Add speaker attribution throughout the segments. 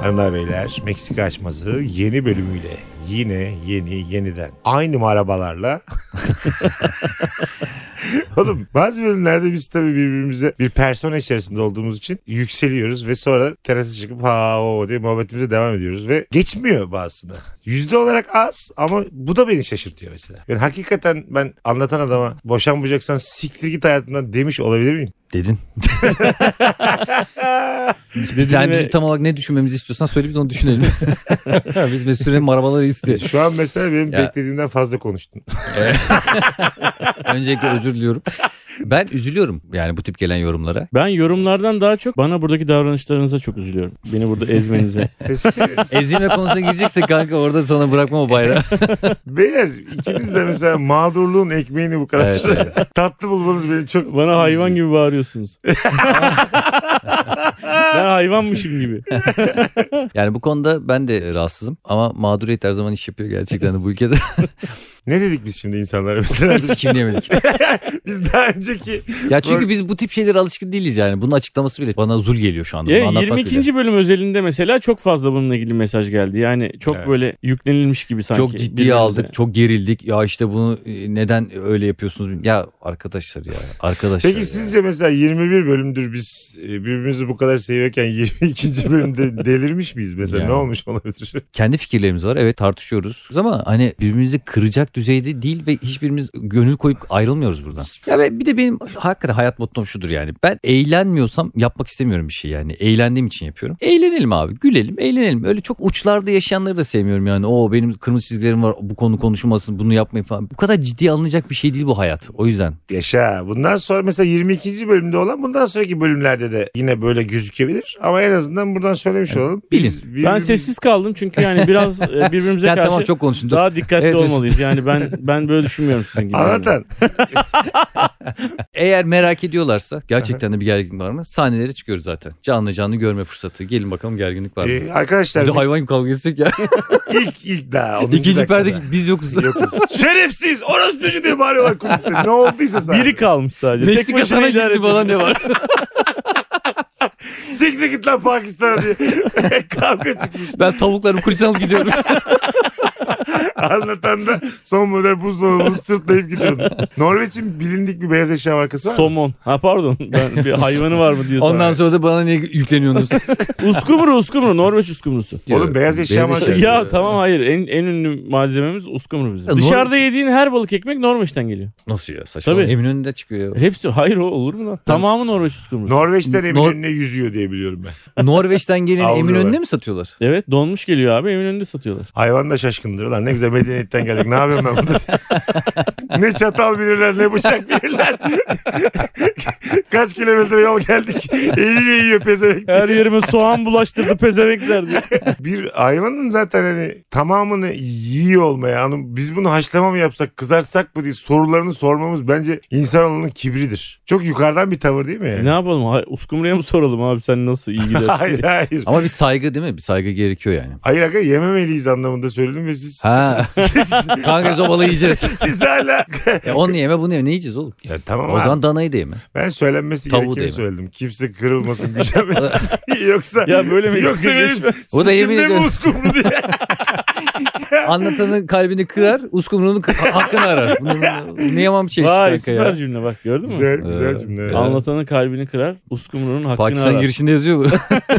Speaker 1: Hanımlar beyler Meksika açması yeni bölümüyle yine yeni yeniden aynı arabalarla Oğlum bazı bölümlerde biz tabii birbirimize bir persona içerisinde olduğumuz için yükseliyoruz ve sonra terasa çıkıp ha o diye muhabbetimize devam ediyoruz ve geçmiyor bazısını. Yüzde olarak az ama bu da beni şaşırtıyor mesela. Yani hakikaten ben anlatan adama boşanmayacaksan siktir git hayatımdan demiş olabilir miyim?
Speaker 2: Dedin.
Speaker 3: Biz
Speaker 2: Sen
Speaker 3: birbirine-
Speaker 2: bizim tam olarak ne düşünmemizi istiyorsan söyle biz onu düşünelim. biz Mesut Süren'in arabaları istiyor.
Speaker 1: Şu an mesela benim
Speaker 2: Ya.
Speaker 1: beklediğimden fazla konuştun.
Speaker 2: Öncelikle özür diliyorum. Ben üzülüyorum yani bu tip gelen yorumlara.
Speaker 3: Ben yorumlardan daha çok bana buradaki davranışlarınıza çok üzülüyorum. Beni burada ezmenize.
Speaker 1: Siz-
Speaker 2: Ezilme konusuna girecekse kanka orada sana bırakma o bayrağı.
Speaker 1: Beyler ikiniz de mesela mağdurluğun ekmeğini bu kadar şey-
Speaker 2: Evet, evet.
Speaker 1: tatlı bulmanız beni çok...
Speaker 3: bana hayvan gibi bağırıyorsunuz. ben hayvanmışım gibi.
Speaker 2: Yani bu konuda ben de rahatsızım ama mağduriyet her zaman iş yapıyor gerçekten de bu ülkede.
Speaker 1: Ne dedik biz şimdi insanlara mesela?
Speaker 2: Biz kimleyemedik.
Speaker 1: biz daha önceki...
Speaker 2: Ya çünkü biz bu tip şeylere alışkın değiliz yani. Bunun açıklaması bile bana zul geliyor şu anda.
Speaker 3: Ya
Speaker 2: Bunu anlatmak bile.
Speaker 3: 22. bölüm özelinde mesela çok fazla bununla ilgili mesaj geldi. Yani çok
Speaker 1: Evet.
Speaker 3: böyle yüklenilmiş gibi sanki.
Speaker 2: Çok ciddiye
Speaker 3: birbirimize.
Speaker 2: aldık, çok gerildik. Ya işte bunu e, neden öyle yapıyorsunuz? bilmiyorum. Ya arkadaşlar ya, arkadaşlar.
Speaker 1: Peki
Speaker 2: şey ya.
Speaker 1: sizce mesela 21 bölümdür biz e, birbirimizi bu kadar seviyorken 22. bölümde delirmiş miyiz mesela?
Speaker 2: Ya.
Speaker 1: Ne olmuş olabilir?
Speaker 2: kendi fikirlerimiz var. Evet tartışıyoruz ama hani birbirimizi kıracak düzeyde değil ve hiçbirimiz gönül koyup ayrılmıyoruz buradan. Ya ve bir de benim hakikaten hayat mottom şudur yani. Ben eğlenmiyorsam yapmak istemiyorum bir şey yani. Eğlendiğim için yapıyorum. Eğlenelim abi, gülelim, eğlenelim. Öyle çok uçlarda yaşayanları da sevmiyorum yani. O benim kırmızı çizgilerim var. Bu konu konuşulmasın, bunu yapmayın falan. Bu kadar ciddiye alınacak bir şey değil bu hayat. O yüzden
Speaker 1: Yaşa. Bundan sonra mesela 22. bölümde olan bundan sonraki bölümlerde de yine böyle gözükebilir. Ama en azından buradan söylemiş olalım. Biz
Speaker 3: Ben
Speaker 1: birbirimiz-
Speaker 3: sessiz kaldım çünkü yani biraz e, birbirimize
Speaker 2: sen
Speaker 3: karşı
Speaker 2: tamam çok konuştun. Dur.
Speaker 3: daha dikkatli
Speaker 2: Evet, Mesut.
Speaker 3: olmalıyız. Yani ben ben böyle düşünmüyorum sizin gibi.
Speaker 1: Anlatan.
Speaker 2: Eğer merak ediyorlarsa gerçekten de bir gerginlik var mı? Sahnelere çıkıyoruz zaten. Canlı canlı görme fırsatı. Gelin bakalım gerginlik var mı?
Speaker 1: e, arkadaşlar
Speaker 2: Bir de hayvan gibi kavga etsek ya.
Speaker 1: ilk ilk daha. 10.
Speaker 2: İkinci
Speaker 1: dakikada.
Speaker 2: perde biz yokuz.
Speaker 1: Yokuz. Şerefsiz orası çocuğu diye bağırıyorlar kuliste. Ne olduysa sana.
Speaker 3: Biri kalmış sadece. Tek
Speaker 2: Meksika
Speaker 3: başına
Speaker 2: sana
Speaker 3: idare
Speaker 2: gitsin
Speaker 3: ediyor.
Speaker 2: falan ne var?
Speaker 1: Siktir git lan Pakistan'a diye kavga çıkmış.
Speaker 2: Ben tavuklarımı kulise alıp gidiyorum.
Speaker 1: Anlatan da son model buzdolabını sırtlayıp gidiyordu. Norveç'in bilindik bir beyaz eşya markası var mı?
Speaker 3: Somon. Ha pardon. Ben bir hayvanı var mı diyorsun.
Speaker 2: Ondan sonra da bana niye yükleniyorsunuz?
Speaker 3: Uskumru uskumru. Norveç uskumrusu.
Speaker 1: Oğlum beyaz eşya markası. Evet.
Speaker 3: Ya tamam hayır en, en ünlü malzememiz uskumru bizim.
Speaker 2: Ya,
Speaker 3: Dışarıda
Speaker 2: Norveç-
Speaker 3: yediğin her balık ekmek Norveç'ten geliyor.
Speaker 2: Nasıl ya saçmalama.
Speaker 3: Tabii.
Speaker 2: Evin önünde çıkıyor. ya.
Speaker 3: Hepsi hayır o olur mu lan? Tamamı Norveç uskumrusu.
Speaker 1: Norveç'ten evin
Speaker 2: Nor-
Speaker 1: önüne yüzüyor diye biliyorum ben.
Speaker 2: Norveç'ten gelen evin
Speaker 1: Avlıyorlar.
Speaker 2: önünde mi satıyorlar?
Speaker 3: evet donmuş geliyor abi evin önünde satıyorlar.
Speaker 1: Hayvan da şaşkındır lan. Ne güzel medeniyetten geldik. Ne yapıyorum ben burada? ne çatal bilirler ne bıçak bilirler. Kaç kilometre yol geldik. İyi iyi pezevenk.
Speaker 3: Her yerime soğan bulaştırdı pezevenkler diyor.
Speaker 1: Bir hayvanın zaten hani tamamını yiyor olmaya hanım biz bunu haşlama mı yapsak kızarsak mı diye sorularını sormamız bence insanoğlunun kibridir. Çok yukarıdan bir tavır değil mi?
Speaker 3: E, ne
Speaker 1: Yani?
Speaker 3: yapalım? Hay- Uskumru'ya mı soralım abi sen nasıl iyi gidersin?
Speaker 1: hayır hayır.
Speaker 2: Ama bir saygı değil mi? Bir saygı gerekiyor yani.
Speaker 1: Hayır aga yememeliyiz anlamında söyledim ve siz
Speaker 2: Ha.
Speaker 1: siz,
Speaker 2: Kanka zobalı yiyeceğiz.
Speaker 1: siz hala
Speaker 2: Ya onu yeme bunu yeme. Ne yiyeceğiz oğlum?
Speaker 1: ya tamam
Speaker 2: O
Speaker 1: abi.
Speaker 2: zaman danayı da yeme.
Speaker 1: ben söylenmesi
Speaker 2: Tavuğu
Speaker 1: gerekeni
Speaker 2: değil mi?
Speaker 1: söyledim. Kimse kırılmasın gücenmesin. yoksa
Speaker 3: Ya böyle mi?
Speaker 1: yoksa benim
Speaker 2: O şey da yemin
Speaker 1: sikimde mi
Speaker 2: ediyorum.
Speaker 1: uskumru diye.
Speaker 2: Anlatanın kalbini kırar, uskumrunun k- hakkını arar. Bunu, bunu, bunu yemem çeşit
Speaker 3: Vay
Speaker 2: kanka
Speaker 3: süper
Speaker 2: ya.
Speaker 3: cümle bak gördün mü?
Speaker 1: güzel güzel
Speaker 2: Ee,
Speaker 1: cümle.
Speaker 2: evet.
Speaker 1: Anladım.
Speaker 3: Anlatanın kalbini kırar, uskumru'nun hakkını
Speaker 2: Pakistan
Speaker 3: arar.
Speaker 2: girişinde yazıyor bu.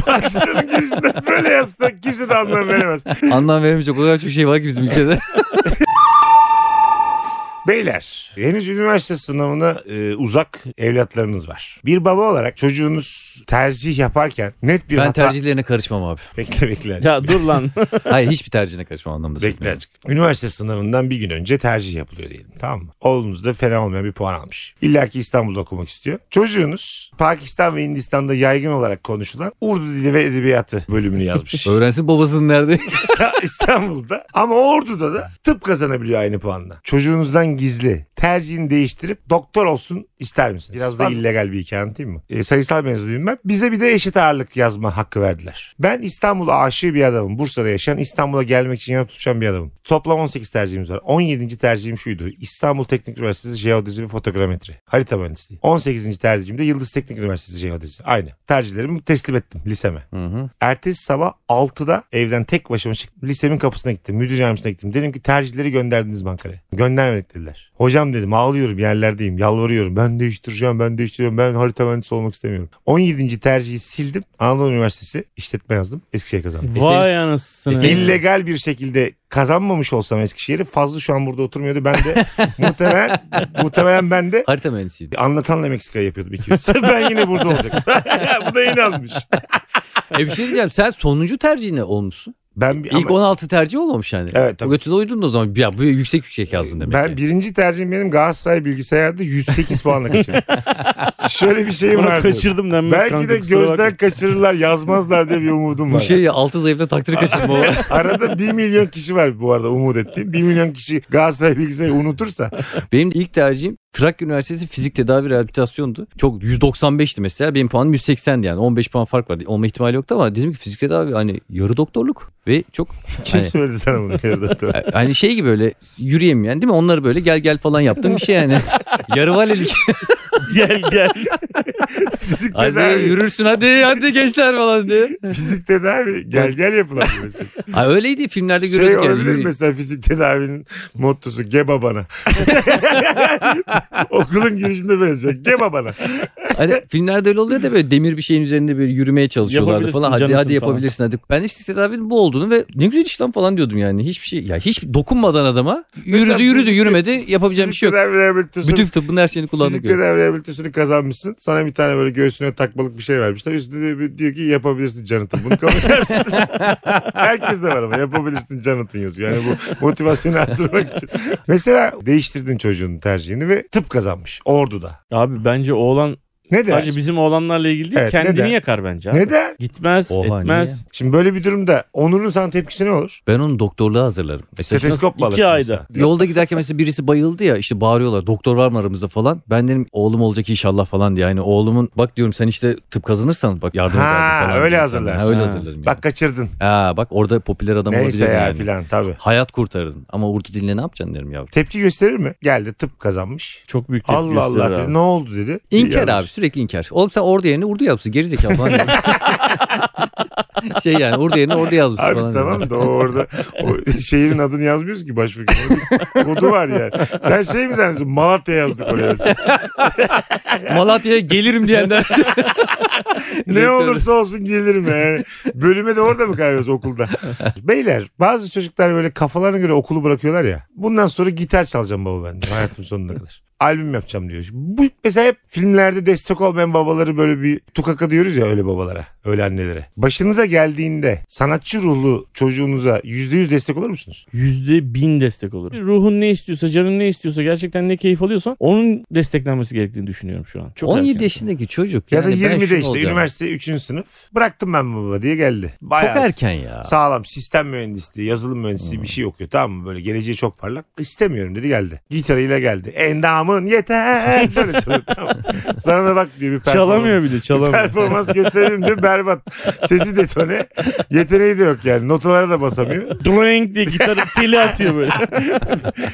Speaker 1: Pakistan'ın girişinde böyle yazsak kimse de anlam veremez.
Speaker 2: Anlam veremeyecek o kadar çok şey var ki bizim ülkede.
Speaker 1: Beyler henüz üniversite sınavına e, uzak evlatlarınız var. Bir baba olarak çocuğunuz tercih yaparken net bir
Speaker 2: Ben
Speaker 1: hata...
Speaker 2: tercihlerine karışmam abi.
Speaker 1: Bekle bekle.
Speaker 3: Ya dur lan.
Speaker 2: Hayır hiçbir tercihine karışmam anlamında
Speaker 1: Bekle azıcık. Üniversite sınavından bir gün önce tercih yapılıyor diyelim tamam mı? Oğlunuz da fena olmayan bir puan almış. İlla ki İstanbul'da okumak istiyor. Çocuğunuz Pakistan ve Hindistan'da yaygın olarak konuşulan Urdu Dili ve Edebiyatı bölümünü yazmış.
Speaker 2: Öğrensin babasının nerede.
Speaker 1: İsta- İstanbul'da ama Ordu'da da tıp kazanabiliyor aynı puanla. Çocuğunuzdan gizli tercihini değiştirip doktor olsun İster misiniz? Biraz da
Speaker 4: Fazla-
Speaker 1: illegal bir hikaye anlatayım mı? E, sayısal mezunuyum ben. Bize bir de eşit ağırlık yazma hakkı verdiler. Ben İstanbul'a aşığı bir adamım. Bursa'da yaşayan İstanbul'a gelmek için yana tutuşan bir adamım. Toplam 18 tercihimiz var. 17. tercihim şuydu. İstanbul Teknik Üniversitesi Jeodezi ve Fotogrametri. Harita mühendisliği. 18. tercihim de Yıldız Teknik Üniversitesi Jeodezi. Aynı. Tercihlerimi teslim ettim liseme.
Speaker 2: Hı hı.
Speaker 1: Ertesi sabah 6'da evden tek başıma çıktım. Lisemin kapısına gittim. Müdür yardımcısına gittim. Dedim ki tercihleri gönderdiniz mi Ankara'ya. Göndermedik dediler. Hocam dedim ağlıyorum yerlerdeyim. Yalvarıyorum. Ben değiştireceğim. Ben değiştiriyorum. Ben harita mühendisi olmak istemiyorum. 17. tercihi sildim. Anadolu Üniversitesi işletme yazdım. Eskişehir kazandım.
Speaker 3: Vay anasını.
Speaker 2: Eseniz-
Speaker 1: İllegal bir şekilde kazanmamış olsam Eskişehir'i fazla şu an burada oturmuyordu. Ben de muhtemelen, muhtemelen ben de
Speaker 2: Harita mühendisiydi.
Speaker 1: anlatanla Meksika yapıyordum ikimiz. ben yine burada olacaktım. Bu da inanmış.
Speaker 2: e bir şey diyeceğim sen sonuncu tercihine olmuşsun.
Speaker 1: Ben bir-
Speaker 2: İlk 16 tercih olmamış yani.
Speaker 1: Evet, tabii.
Speaker 2: O götüne uydun da o zaman. Ya bu yüksek yüksek yazdın demek
Speaker 1: Ben
Speaker 2: ki.
Speaker 1: birinci tercihim benim Galatasaray bilgisayarda 108 puanla kaçırdım. Şöyle bir şeyim
Speaker 3: Bunu
Speaker 1: vardı.
Speaker 3: kaçırdım ben.
Speaker 1: Belki
Speaker 3: kanka,
Speaker 1: de
Speaker 3: kusura bakma.
Speaker 1: gözden kaçırırlar yazmazlar diye bir umudum
Speaker 2: Bu
Speaker 1: var.
Speaker 2: şey ya altı zayıfta takdir kaçırma o.
Speaker 1: Arada 1 milyon kişi var bu arada umut ettiğim. 1 milyon kişi Galatasaray bilgisayarı unutursa.
Speaker 2: Benim ilk tercihim Trakya Üniversitesi Fizik Tedavi Rehabilitasyon'du. Çok 195'ti mesela. Benim puanım 180'di yani. 15 puan fark vardı. Olma ihtimali yoktu ama dedim ki fizik tedavi hani yarı doktorluk ve çok
Speaker 1: Kim
Speaker 2: Hani-
Speaker 1: söyledi sana bunu? Yarıda
Speaker 2: hani şey gibi böyle yürüyemeyen değil mi? Onları böyle gel gel falan yaptım bir şey yani. yarı valilik.
Speaker 3: Gel gel.
Speaker 1: Fizik
Speaker 2: hadi
Speaker 1: tedavi.
Speaker 2: yürürsün hadi hadi gençler falan diye.
Speaker 1: Fizik tedavi. Gel gel yapılan bir meslek.
Speaker 2: Ay öyleydi filmlerde
Speaker 1: Şey
Speaker 2: görüyorduk yani.
Speaker 1: olabilir
Speaker 2: Yürü-
Speaker 1: mesela fizik tedavinin mottosu geba bana. Okulun girişinde böyle söylüyor. Geba bana.
Speaker 2: Hani filmlerde öyle oluyor da böyle demir bir şeyin üzerinde böyle yürümeye çalışıyorlardı
Speaker 3: Yapabilirsin
Speaker 2: falan. Hadi
Speaker 3: Jonathan
Speaker 2: hadi yapabilirsin hadi. Ben işte tedavinin bu olduğunu ve ne güzel iş lan falan diyordum yani. Hiçbir şey ya hiç dokunmadan adama
Speaker 1: Mesela
Speaker 2: yürüdü yürüdü
Speaker 1: fizik-
Speaker 2: yürümedi yapabileceğim bir şey yok.
Speaker 1: Fizik tedavi rehabilitasyonu-
Speaker 2: Bütün tıbbın her şeyini kullandık.
Speaker 1: Fizik tedavi rehabilitasyonu kazanmışsın. Sana bir tane böyle göğsüne takmalık bir şey vermişler. Üstüne de bir- diyor ki yapabilirsin Jonathan. Bunu kabul eder misin? Herkes de var ama yapabilirsin Jonathan yazıyor. Yani bu motivasyonu arttırmak için. Mesela değiştirdin çocuğun tercihini ve tıp kazanmış. Ordu'da.
Speaker 3: Abi bence oğlan
Speaker 1: Ne der?
Speaker 3: sadece bizim oğlanlarla ilgili değil
Speaker 1: Evet,
Speaker 3: kendini
Speaker 1: neden?
Speaker 3: yakar bence. Abi.
Speaker 1: Ne der?
Speaker 3: Gitmez
Speaker 2: Oha,
Speaker 3: etmez.
Speaker 1: Şimdi böyle bir durumda Onur'un sana tepkisi ne olur?
Speaker 2: Ben onu doktorluğa hazırlarım. E, Mesela şimdi
Speaker 1: Stetoskopla alırsın.
Speaker 3: İki
Speaker 1: mesela.
Speaker 3: ayda.
Speaker 2: Yolda giderken mesela birisi bayıldı ya işte bağırıyorlar doktor var mı aramızda falan. Ben dedim oğlum olacak inşallah falan diye. Yani oğlumun bak diyorum sen işte tıp kazanırsan bak yardım
Speaker 1: Ha,
Speaker 2: ederdim falan.
Speaker 1: öyle
Speaker 2: diyorum sana.
Speaker 1: hazırlarsın.
Speaker 2: Ha, öyle
Speaker 3: Ha.
Speaker 2: hazırlarım.
Speaker 1: Bak kaçırdın.
Speaker 2: yani. Ha, bak orada popüler adam
Speaker 1: Neyse
Speaker 2: olabilir
Speaker 1: ya
Speaker 2: yani.
Speaker 1: filan tabii.
Speaker 2: Hayat kurtardın ama Urdu diline ne yapacaksın derim yavrum.
Speaker 1: Tepki gösterir mi? Geldi tıp kazanmış.
Speaker 3: Çok büyük tepki
Speaker 1: Allah Allah
Speaker 3: gösterir
Speaker 1: dedi.
Speaker 3: abi.
Speaker 1: Ne oldu dedi.
Speaker 2: İnkar
Speaker 1: Yanlış.
Speaker 2: abi sürekli inkar. Oğlum sen orada yerine Urdu yapsın gerizekalı falan. diyorum. şey yani orada yerine orada yazmışsın
Speaker 1: Abi
Speaker 2: falan. diyorum.
Speaker 1: tamam da o orada o şehrin adını yazmıyoruz ki başvuru kağıdına. Kodu var yani. Sen şey mi zannediyorsun? Malatya yazdık oraya. mesela.
Speaker 2: Malatya'ya gelirim diyenler.
Speaker 1: ne olursa olsun gelirim yani. Bölüme de orada mı kaybediyoruz okulda? Beyler bazı çocuklar böyle kafalarına göre okulu bırakıyorlar ya. Bundan sonra gitar çalacağım baba ben diyor, hayatım sonuna kadar. Albüm yapacağım diyor. Bu mesela hep filmlerde destek olmayan babaları böyle bir tukaka diyoruz ya öyle babalara, öyle annelere. Başınıza geldiğinde sanatçı ruhlu çocuğunuza %100 destek olur musunuz?
Speaker 3: Yüzde bin destek olur. Ruhun ne istiyorsa, canın ne istiyorsa, gerçekten ne keyif alıyorsan onun desteklenmesi gerektiğini düşünüyorum şu an. Çok
Speaker 2: 17
Speaker 3: erken.
Speaker 2: yaşındaki çocuk.
Speaker 1: Ya da
Speaker 2: yani ben
Speaker 1: 20'de
Speaker 2: şunu
Speaker 1: işte
Speaker 2: olacağım.
Speaker 1: üniversite 3. sınıf bıraktım ben baba diye geldi.
Speaker 2: Çok
Speaker 1: Bayağı
Speaker 2: erken ya. Hmm.
Speaker 1: Sağlam sistem mühendisliği, yazılım mühendisliği bir şey okuyor tamam mı? Böyle geleceği çok parlak. İstemiyorum dedi geldi. Gitarıyla geldi. Endamın yeter. Böyle çalıyor tamam mı? Sana da bak diyor bir performans.
Speaker 3: Çalamıyor bir de çalamıyor.
Speaker 1: Performans gösterelim diyor berbat. Sesi detone. Yeteneği de yok yani. Notalara da basamıyor.
Speaker 3: Drink diye gitarı teli atıyor böyle.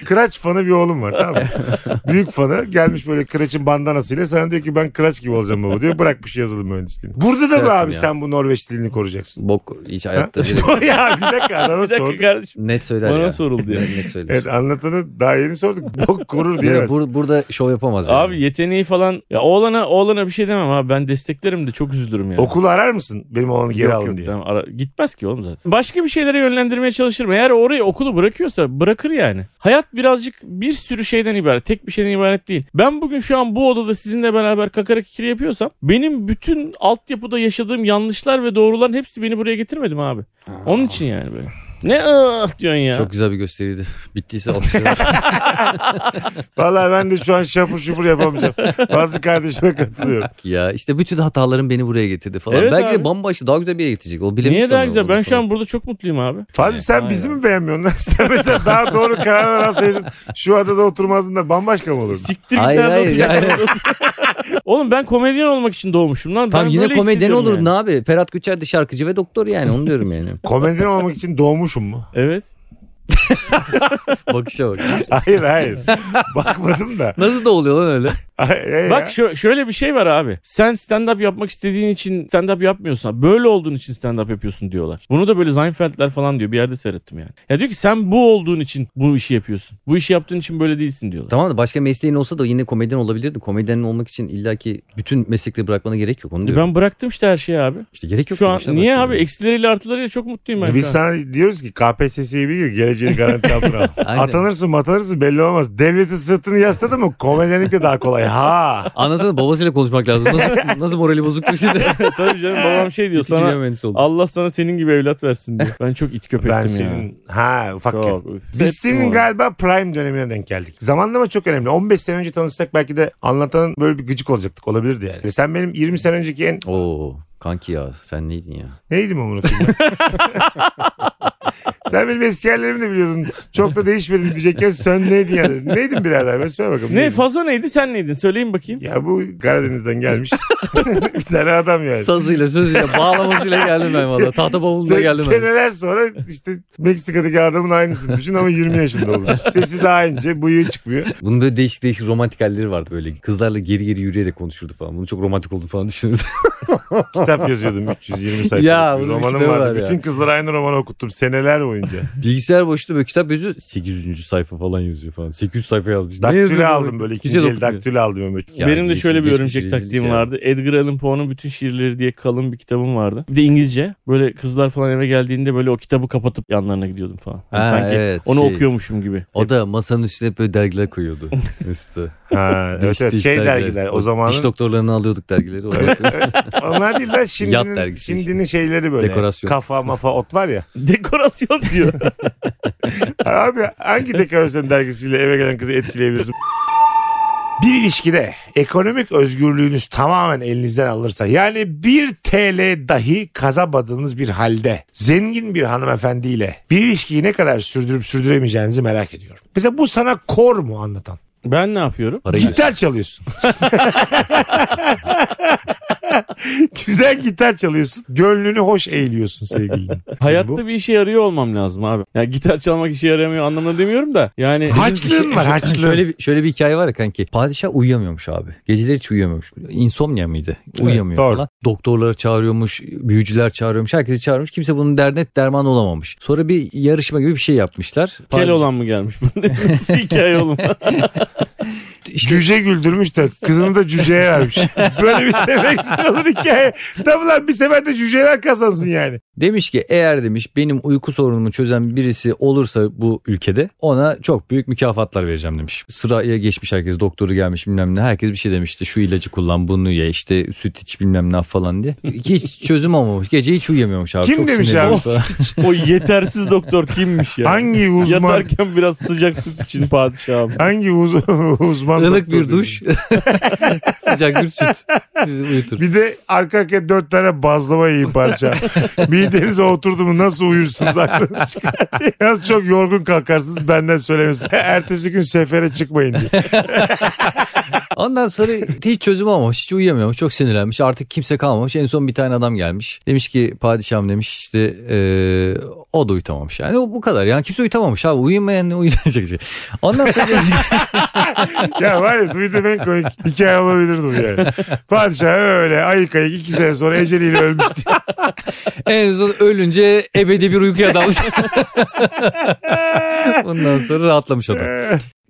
Speaker 1: Kıraç fanı bir oğlum var tamam mı? Büyük fanı gelmiş böyle Kıraç'ın bandanasıyla sana diyor ki ben Kıraç gibi olacağım baba diyor. Bırakmış yazılım mühendisliğini. Burada da mı
Speaker 2: Sertim
Speaker 1: abi
Speaker 2: ya.
Speaker 1: sen bu Norveç dilini koruyacaksın?
Speaker 2: Bok hiç
Speaker 1: Ha?
Speaker 2: hayatta bile-
Speaker 1: ya bir dakika adama
Speaker 3: bir dakika
Speaker 1: sorduk.
Speaker 3: kardeşim.
Speaker 2: net söyler
Speaker 3: Bana
Speaker 2: ya.
Speaker 3: soruldu yani.
Speaker 2: Net söyler.
Speaker 1: Evet anlatanı daha yeni sorduk. Bok korur
Speaker 2: Ya
Speaker 1: diyemez.
Speaker 2: bur- burada şov yapamaz. yani.
Speaker 3: Abi yeteneği falan. Ya oğlana oğlana bir şey demem abi. Ben desteklerim de çok üzülürüm yani.
Speaker 1: Okulu arar mısın? Benim oğlanı geri
Speaker 3: Yok,
Speaker 1: alın
Speaker 3: yok,
Speaker 1: diye.
Speaker 3: tamam, ara- gitmez ki oğlum zaten. Başka bir şeylere yönlendirmeye çalışırım. Eğer orayı okulu bırakıyorsa bırakır yani. Hayat birazcık bir sürü şeyden ibaret. Tek bir şeyden ibaret değil. Ben bugün şu an bu odada sizinle beraber kakara kikiri yapıyorsam benim bütün altyapıda yaşadığım yanlışlar ve doğruların hepsi beni buraya getirmedi mi abi? Onun için yani böyle. Ne ıh diyorsun ya.
Speaker 2: Çok güzel bir gösteriydi. Bittiyse alkışlarım.
Speaker 1: Vallahi ben de şu an şapur şupur yapamayacağım. Bazı kardeşime katılıyorum.
Speaker 2: ya işte bütün hatalarım beni buraya getirdi falan.
Speaker 3: Evet
Speaker 2: Belki
Speaker 3: abi.
Speaker 2: de bambaşka daha güzel bir yere getirecek. O bilemiş
Speaker 3: Niye daha
Speaker 2: sonra
Speaker 3: güzel?
Speaker 2: onu
Speaker 3: Ben şu
Speaker 2: falan.
Speaker 3: an burada çok mutluyum abi.
Speaker 1: Fazlı sen bizi mi beğenmiyorsun? lan? sen mesela daha doğru karar alsaydın şu adada oturmazdın da bambaşka mı olurdu?
Speaker 3: Siktir git
Speaker 2: Hayır,
Speaker 3: nerede
Speaker 2: hayır,
Speaker 3: oturacaksın? Oğlum ben komedyen olmak için doğmuşum lan.
Speaker 2: Tam
Speaker 3: ben
Speaker 2: yine
Speaker 3: böyle
Speaker 2: komedyen
Speaker 3: hissediyorum
Speaker 2: olur
Speaker 3: yani.
Speaker 2: ne abi? Ferhat Göçer de şarkıcı ve doktor yani onu diyorum yani.
Speaker 1: Komedyen olmak için doğmuşum mu?
Speaker 3: Evet.
Speaker 2: Bakışa bak.
Speaker 1: Hayır hayır. Bakmadım da.
Speaker 2: Nasıl da oluyor lan öyle?
Speaker 1: Ay, ay,
Speaker 3: Bak
Speaker 1: ya.
Speaker 3: şö- şöyle bir şey var abi. Sen stand-up yapmak istediğin için stand-up yapmıyorsan, böyle olduğun için stand-up yapıyorsun diyorlar. Bunu da böyle Seinfeldler falan diyor. Bir yerde seyrettim yani. Ya diyor ki sen bu olduğun için bu işi yapıyorsun. Bu işi yaptığın için böyle değilsin diyorlar.
Speaker 2: Tamam da başka mesleğin olsa da yine komedyen olabilirdin. Komedyen olmak için illaki bütün meslekleri bırakmana gerek yok onu diyorum.
Speaker 3: E Ben bıraktım işte her şeyi abi.
Speaker 2: İşte gerek yok.
Speaker 3: Şu an
Speaker 2: demişler,
Speaker 3: niye
Speaker 2: bırakmıyorum.
Speaker 3: abi eksileriyle artılarıyla çok mutluyum ben
Speaker 1: Biz
Speaker 3: şu an.
Speaker 1: sana diyoruz ki KPSS'yi bir gün geleceğini garanti altına al.
Speaker 2: Aynen.
Speaker 1: Atanırsın matanırsın belli olmaz. Devletin sırtını yasladı mı komedyenlik de daha kolay. Ha.
Speaker 2: Anladın mı? Babasıyla konuşmak lazım. Nasıl, nasıl morali bozuktur şimdi?
Speaker 3: Tabii canım babam şey diyor
Speaker 2: İkinci
Speaker 3: sana
Speaker 2: mühendis oldu.
Speaker 3: Allah sana senin gibi evlat versin diyor. Ben çok it köpektim
Speaker 1: Ben
Speaker 3: ya.
Speaker 1: senin ha ufakken.
Speaker 3: Çok, üf.
Speaker 1: Biz senin
Speaker 3: Ettim
Speaker 1: galiba prime dönemine denk geldik. Zamanlama çok önemli. 15 sene önce tanışsak belki de anlatanın böyle bir gıcık olacaktık. Olabilirdi yani. Sen benim 20 sene önceki en...
Speaker 2: Oo kanki ya sen neydin ya?
Speaker 1: Neydim amına koyayım? Sen benim eski yerlerimi de biliyordun. Çok da değişmedin diyecekken sen neydin yani? Neydin birader? Ben söyle bakalım.
Speaker 3: onu. Ne
Speaker 1: neydin?
Speaker 3: fazla neydi sen neydin söyleyin bakayım.
Speaker 1: Ya bu Karadeniz'den gelmiş. bir tane adam yani.
Speaker 2: Sazıyla sözüyle bağlamasıyla geldim ben valla. Tahta bavulla
Speaker 1: Se-
Speaker 2: geldim ben.
Speaker 1: seneler sonra işte Meksika'daki adamın aynısını düşün ama 20 yaşında olmuş. Sesi daha ince, bıyığı çıkmıyor.
Speaker 2: Bunun böyle değişik değişik romantik halleri vardı böyle. Kızlarla geri geri yürüyerek konuşurdu falan. Bunu çok romantik olduğunu falan düşünürdü.
Speaker 1: Kitap yazıyordum 320 sayfalık.
Speaker 2: Ya,
Speaker 1: bir
Speaker 2: bunun
Speaker 1: romanım
Speaker 2: kitapı
Speaker 1: vardı.
Speaker 2: var ya.
Speaker 1: Bütün kızlara aynı romanı okuttum seneler boyunca.
Speaker 2: Bilgisayar boşluğu böyle kitap yazıyor. 800. sayfa falan yazıyor falan. 800 sayfa yazmış. Ne
Speaker 1: Daktilo
Speaker 2: yazıyor
Speaker 1: aldım
Speaker 2: bunu?
Speaker 1: böyle
Speaker 2: Kimse
Speaker 1: ikinci
Speaker 2: de
Speaker 1: el
Speaker 2: okumuyor.
Speaker 1: daktilo aldım Ömür.
Speaker 2: Ya,
Speaker 3: Benim de
Speaker 2: geçmiş-
Speaker 3: şöyle bir
Speaker 2: geçmiş
Speaker 3: örümcek
Speaker 2: rezillik
Speaker 3: taktiğim
Speaker 2: ya.
Speaker 3: vardı. Edgar Allan Poe'nun bütün şiirleri diye kalın bir kitabım vardı. Bir de İngilizce. Böyle kızlar falan eve geldiğinde böyle o kitabı kapatıp yanlarına gidiyordum falan. Hani
Speaker 2: Ha,
Speaker 3: sanki
Speaker 2: evet,
Speaker 3: onu
Speaker 2: şey.
Speaker 3: okuyormuşum gibi. E,
Speaker 2: O da masanın üstüne hep böyle dergiler koyuyordu. Üstü.
Speaker 1: Ha, evet,
Speaker 2: Diş-
Speaker 1: evet.
Speaker 2: diş
Speaker 1: şey dergiler o zaman.
Speaker 2: Diş doktorlarını alıyorduk dergileri. Orada
Speaker 1: Onlar değil de
Speaker 2: Yat
Speaker 1: şimdinin,
Speaker 2: dergisi
Speaker 1: şimdinin şeyleri böyle.
Speaker 2: Dekorasyon.
Speaker 1: Kafa mafa ot var ya.
Speaker 3: Dekorasyon diyor.
Speaker 1: Abi hangi dekorasyon dergisiyle eve gelen kızı etkileyebilirsin? Bir ilişkide ekonomik özgürlüğünüz tamamen elinizden alırsa yani 1 TL dahi kazamadığınız bir halde zengin bir hanımefendiyle bir ilişkiyi ne kadar sürdürüp sürdüremeyeceğinizi merak ediyorum. Mesela bu sana kor mu anlatan?
Speaker 3: ben ne yapıyorum?
Speaker 2: parayı
Speaker 1: Gitar çalıyorsun. Güzel gitar çalıyorsun. Gönlünü hoş eğiliyorsun sevgilinin. Bu-
Speaker 3: Hayatta bir işe yarıyor olmam lazım abi. Ya gitar çalmak işe yaramıyor anlamına demiyorum da. Yani
Speaker 1: Haçlığın var haçlığın.
Speaker 2: Şöyle bir, şöyle bir hikaye var ya kanki. Padişah uyuyamıyormuş abi. Geceleri hiç uyuyamıyormuş. İnsomnia mıydı? Uyuyamıyor
Speaker 1: doğru.
Speaker 2: falan. Doktorları çağırıyormuş, büyücüler çağırıyormuş, herkesi çağırmış. Kimse bunun derdine derman olamamış. Sonra bir yarışma gibi bir şey yapmışlar.
Speaker 3: kel
Speaker 2: Padişah-
Speaker 3: olan mı gelmiş? Bu ne hikaye oğlum?
Speaker 2: İşte-
Speaker 1: Cüce güldürmüş de kızını da cüceye vermiş. Böyle bir sefer güzel olur hikaye. Tabii lan bir sefer de cüceler kazansın yani.
Speaker 2: Demiş ki eğer demiş benim uyku sorunumu çözen birisi olursa bu ülkede ona çok büyük mükafatlar vereceğim demiş. Sıraya geçmiş herkes doktoru gelmiş bilmem ne herkes bir şey demişti şu ilacı kullan bunu ye işte süt iç bilmem ne yap falan diye. Hiç çözüm olmamış gece hiç uyuyamıyormuş abi.
Speaker 1: Kim
Speaker 2: çok
Speaker 1: demiş
Speaker 2: sinirlenmiş
Speaker 1: abi?
Speaker 2: falan.
Speaker 3: o yetersiz doktor kimmiş ya?
Speaker 1: Hangi uzman
Speaker 3: Yatarken biraz sıcak süt için padişahım.
Speaker 1: hangi uz uzman
Speaker 2: Ilık
Speaker 1: doktor
Speaker 2: bir duş. Sıcak bir süt. Sizi uyutur.
Speaker 1: Bir de arka arkaya dört tane bazlama yiyin parça. Midenize oturdu mu nasıl uyursunuz aklınız çıkar. Yalnız çok yorgun kalkarsınız benden söylemesi. Ertesi gün sefere çıkmayın diye.
Speaker 2: Ondan sonra hiç çözüm olmamış. Hiç uyuyamıyormuş. Çok sinirlenmiş. Artık kimse kalmamış. En son bir tane adam gelmiş. Demiş ki padişahım demiş işte eee, o da uyutamamış. Yani o bu kadar. Yani kimse uyutamamış abi. Uyumayan ne uyuyacak şey. Ondan sonra demiş ki,
Speaker 1: Ya var ya duydum en komik hikaye olabilir bu yani. Padişah öyle ayık ayık iki sene sonra eceliyle ölmüş diye.
Speaker 2: en son ölünce ebedi bir uykuya dalmış. Ondan sonra rahatlamış adam.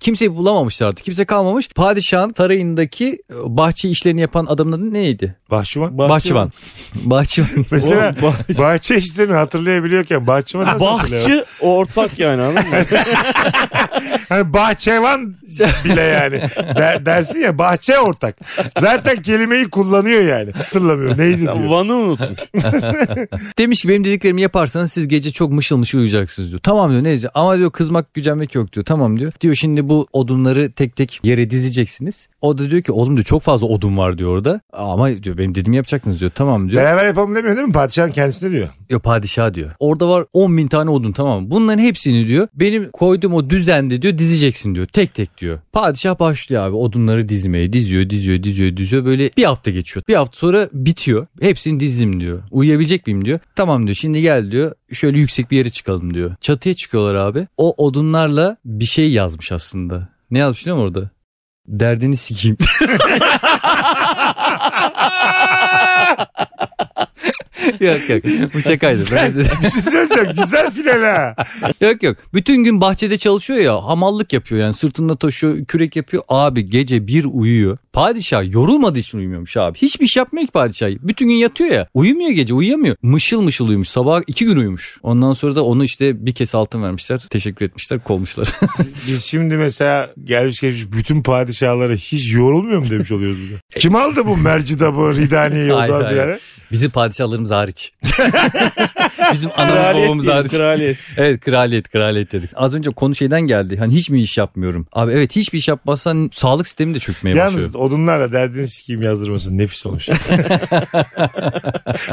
Speaker 2: Kimseyi bulamamışlar artık. Kimse kalmamış. Padişahın sarayındaki e, bahçe işlerini yapan adamın adı neydi?
Speaker 1: Bahçıvan.
Speaker 2: Bahçıvan. Bahçıvan.
Speaker 1: Mesela
Speaker 3: Oğlum,
Speaker 1: bahçe işlerini hatırlayabiliyorken bahçıvan nasıl hatırlıyor?
Speaker 3: Bahçı ortak yani anladın mı?
Speaker 1: Hani bahçevan bile yani. Der- dersin ya bahçe ortak. Zaten kelimeyi kullanıyor yani. Hatırlamıyor neydi diyor.
Speaker 3: Van'ı unutmuş.
Speaker 2: Demiş ki benim dediklerimi yaparsanız siz gece çok mışıl mışıl uyuyacaksınız diyor. Tamam diyor neyse ama diyor kızmak gücenmek yok diyor. Tamam diyor. Diyor şimdi bu odunları tek tek yere dizeceksiniz. O da diyor ki oğlum diyor çok fazla odun var diyor orada. Ama diyor benim dediğimi yapacaksınız diyor. Tamam diyor.
Speaker 1: Beraber yapalım demiyor değil mi? Padişahın kendisine diyor.
Speaker 2: Diyor padişah diyor. Orada var 10 bin tane odun tamam mı? Bunların hepsini diyor benim koyduğum o düzende diyor dizeceksin diyor. Tek tek diyor. Padişah başlıyor abi odunları dizmeye. Diziyor diziyor diziyor diziyor. Böyle bir hafta geçiyor. Bir hafta sonra bitiyor. Hepsini dizdim diyor. Uyuyabilecek miyim diyor. Tamam diyor şimdi gel diyor. Şöyle yüksek bir yere çıkalım diyor. Çatıya çıkıyorlar abi. O odunlarla bir şey yazmış aslında. Ne yazmış biliyor musun orada? Derdini sikeyim. yok yok. Bu şakaydı. Ben-
Speaker 1: bir şey söyleyeceğim. Güzel final ha.
Speaker 2: Yok yok. Bütün gün bahçede çalışıyor ya. Hamallık yapıyor yani. Sırtında taşıyor. Kürek yapıyor. Abi gece bir uyuyor. Padişah yorulmadığı için uyumuyormuş abi. Hiçbir iş yapmıyor ki padişah. Bütün gün yatıyor ya. Uyumuyor gece. Uyuyamıyor. Mışıl mışıl uyumuş. Sabah iki gün uyumuş. Ondan sonra da onu işte bir kese altın vermişler. Teşekkür etmişler. Kovmuşlar.
Speaker 1: Biz şimdi mesela gelmiş geçmiş bütün padişahlara hiç yorulmuyor mu demiş oluyoruz burada. Kim aldı bu mercidabı, ridaniyeyi o
Speaker 2: Hayır,
Speaker 1: zaman
Speaker 2: hayır.
Speaker 1: birader?
Speaker 2: Bizim padişahlarımız hariç. Bizim anamız
Speaker 3: Kraliyet
Speaker 2: babamız
Speaker 3: değil,
Speaker 2: hariç.
Speaker 3: kraliyet.
Speaker 2: Evet kraliyet kraliyet dedik. Az önce konu şeyden geldi. Hani hiç mi iş yapmıyorum? Abi evet hiçbir iş yapmazsan sağlık sistemi de çökmeye başlıyor.
Speaker 1: Yalnız odunlarla derdini sikeyim yazdırması nefis olmuş.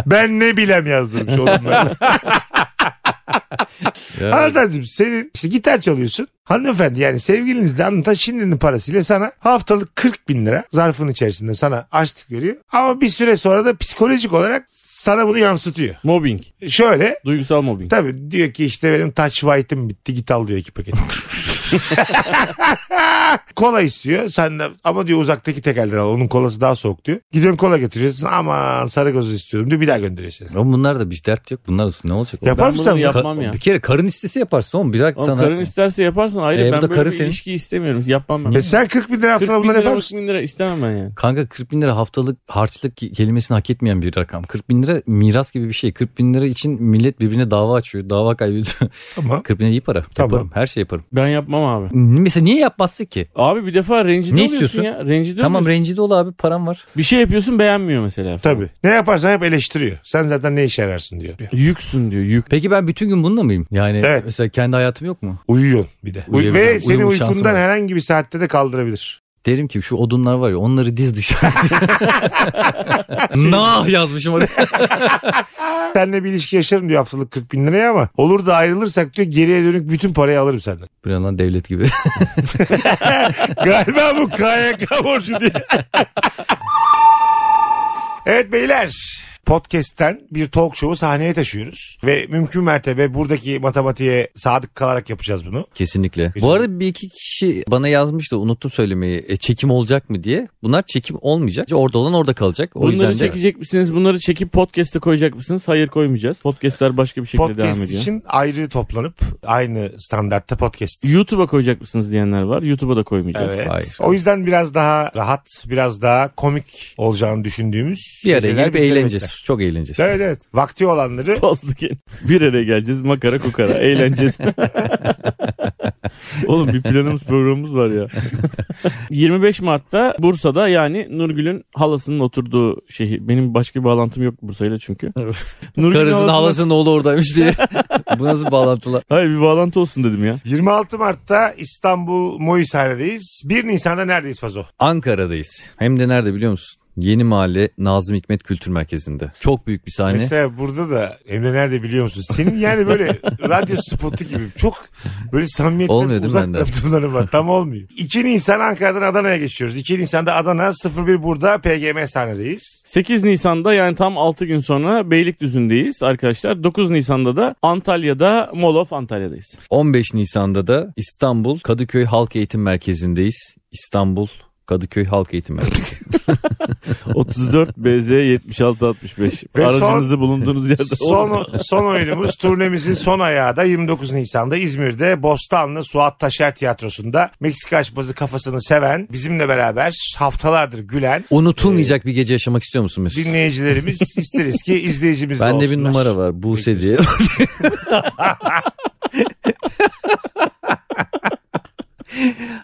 Speaker 1: ben ne bilem yazdırmış odunlarla.
Speaker 2: Ya.
Speaker 1: Anlatancığım senin işte gitar çalıyorsun. Hanımefendi yani sevgilinizle anlatan şimdinin parasıyla sana haftalık 40 bin lira zarfın içerisinde sana açlık veriyor. Ama bir süre sonra da psikolojik olarak sana bunu yansıtıyor.
Speaker 3: Mobbing.
Speaker 1: Şöyle
Speaker 3: Duygusal mobbing.
Speaker 1: Tabii diyor ki işte benim touch white'ım bitti git al diyor iki paket. kola istiyor. Sen de ama diyor uzaktaki tekelden al. Onun kolası daha soğuk diyor. Gidiyorsun kola getiriyorsun. Aman sarı gözü istiyorum diyor. Bir daha gönderiyor seni.
Speaker 2: Ama bunlar da bir dert yok. Bunlar da ne olacak?
Speaker 1: Yapar
Speaker 3: Ben
Speaker 1: mısın
Speaker 3: bunu
Speaker 1: sen bunu?
Speaker 2: Ka-
Speaker 3: yapmam ya.
Speaker 2: Bir kere karın istesi yaparsın oğlum. Bir dakika
Speaker 3: Ama
Speaker 2: sana.
Speaker 3: karın isterse yaparsan ayrı.
Speaker 2: E, bu
Speaker 3: ben
Speaker 2: da
Speaker 3: böyle
Speaker 2: karın
Speaker 3: bir
Speaker 2: senin.
Speaker 3: ilişki istemiyorum. Yapmam ben.
Speaker 1: E sen 40 bin lira
Speaker 3: 40
Speaker 1: haftada
Speaker 3: bin
Speaker 1: bunları yapar
Speaker 3: lira,
Speaker 1: mısın?
Speaker 3: 40 bin lira istemem ben yani.
Speaker 2: Kanka 40 bin lira haftalık harçlık kelimesini hak etmeyen bir rakam. 40 bin lira miras gibi bir şey. 40 bin lira için millet birbirine dava açıyor. Dava kaybediyor.
Speaker 1: Tamam.
Speaker 2: 40 bin lira iyi para.
Speaker 1: Tamam.
Speaker 2: Yaparım. Her şey yaparım.
Speaker 3: Ben yapmam abi.
Speaker 2: Mesela niye yapmazsın ki?
Speaker 3: Abi bir defa rencide
Speaker 2: Ne
Speaker 3: oluyorsun
Speaker 2: istiyorsun?
Speaker 3: ya. Rencide
Speaker 2: Tamam
Speaker 3: oluyorsun.
Speaker 2: rencide ol abi param var.
Speaker 3: Bir şey yapıyorsun beğenmiyor mesela. falan.
Speaker 1: Tabii. Ne yaparsan hep eleştiriyor. Sen zaten ne işe yararsın diyor.
Speaker 3: Yüksün diyor. Yük.
Speaker 2: Peki ben bütün gün bununla mıyım? Yani
Speaker 1: Evet.
Speaker 2: mesela kendi hayatım yok mu?
Speaker 1: Uyuyorsun bir de. Uy-
Speaker 2: Uyuyabilirim.
Speaker 1: Ve seni
Speaker 2: Uyuma şansım
Speaker 1: uykundan
Speaker 2: var.
Speaker 1: herhangi bir saatte de kaldırabilir.
Speaker 2: Derim ki şu odunlar var ya onları diz dışarı. nah yazmışım oraya.
Speaker 1: Seninle bir ilişki yaşarım diyor haftalık 40 bin liraya ama olur da ayrılırsak diyor geriye dönük bütün parayı alırım senden.
Speaker 2: Bu ne lan devlet gibi.
Speaker 1: Galiba bu KYK borcu diye. evet beyler. Podcast'ten bir talk show'u sahneye taşıyoruz. Ve mümkün mertebe buradaki matematiğe sadık kalarak yapacağız bunu.
Speaker 2: Kesinlikle.
Speaker 1: Güzel.
Speaker 2: Bu arada bir iki kişi bana yazmış da unuttum söylemeyi. E, çekim olacak mı diye. Bunlar çekim olmayacak. Orada olan orada kalacak. O
Speaker 3: Bunları
Speaker 2: yüzden de
Speaker 3: çekecek misiniz? Bunları çekip podcast'e koyacak mısınız? Hayır koymayacağız. Podcast'ler başka bir şekilde devam
Speaker 1: podcast
Speaker 3: ediyor.
Speaker 1: için ayrı toplanıp aynı standartta podcast.
Speaker 3: YouTube'a koyacak mısınız diyenler var. YouTube'a da koymayacağız.
Speaker 1: Evet.
Speaker 2: Hayır.
Speaker 1: O yüzden biraz daha rahat, biraz daha komik olacağını düşündüğümüz
Speaker 2: bir araya
Speaker 1: şeyler
Speaker 2: gelip
Speaker 1: bizleri
Speaker 2: eğleneceğiz.
Speaker 1: bekler.
Speaker 2: Çok eğleneceğiz.
Speaker 1: Evet evet. Vakti olanları
Speaker 3: Fazla gel- Bir araya geleceğiz makara kukara eğleneceğiz. Oğlum bir planımız programımız var ya. 25 Mart'ta Bursa'da yani Nurgül'ün halasının oturduğu şehir. Benim başka bir bağlantım yok Bursa'yla çünkü. Nurgül'ün
Speaker 2: Karısının
Speaker 3: halasının-
Speaker 2: halasının oğlu oradaymış diye. Bu nasıl bağlantılar?
Speaker 3: Hayır bir bağlantı olsun dedim ya.
Speaker 1: 26 Mart'ta İstanbul Moğolhane'deyiz. 1 Nisan'da neredeyiz Fazo?
Speaker 2: Ankara'dayız. Hem de nerede biliyor musun? Yeni Mahalle Nazım Hikmet Kültür Merkezi'nde. Çok büyük bir sahne.
Speaker 1: Mesela burada da Emre nerede biliyor musun? Senin yani böyle radyo spotu gibi çok böyle samimiyetten
Speaker 2: Olmuyor değil mi
Speaker 1: uzak
Speaker 2: benden?
Speaker 1: yaptımların var. Tam olmuyor. 2 Nisan Ankara'dan Adana'ya geçiyoruz. 2 Nisan'da Adana 01 burada PGM sahnedeyiz.
Speaker 3: 8 Nisan'da yani tam 6 gün sonra Beylikdüzü'ndeyiz arkadaşlar. 9 Nisan'da da Antalya'da Mall of Antalya'dayız.
Speaker 2: 15 Nisan'da da İstanbul Kadıköy Halk Eğitim Merkezi'ndeyiz. İstanbul Kadıköy Halk Eğitim Merkezi.
Speaker 3: 34 BZ 76 65.
Speaker 1: Ve son-
Speaker 3: Aracınızı bulunduğunuz yerde olun.
Speaker 1: Son, son oyunumuz turnemizin son ayağı da 29 Nisan'da İzmir'de Bostanlı Suat Taşer Tiyatrosu'nda Meksika açması kafasını seven bizimle beraber haftalardır gülen
Speaker 2: Unutulmayacak bir gece yaşamak istiyor musun Mesut?
Speaker 1: dinleyicilerimiz isteriz ki izleyicimiz de
Speaker 2: Bende bir
Speaker 1: olsunlar.
Speaker 2: numara var Buse diye.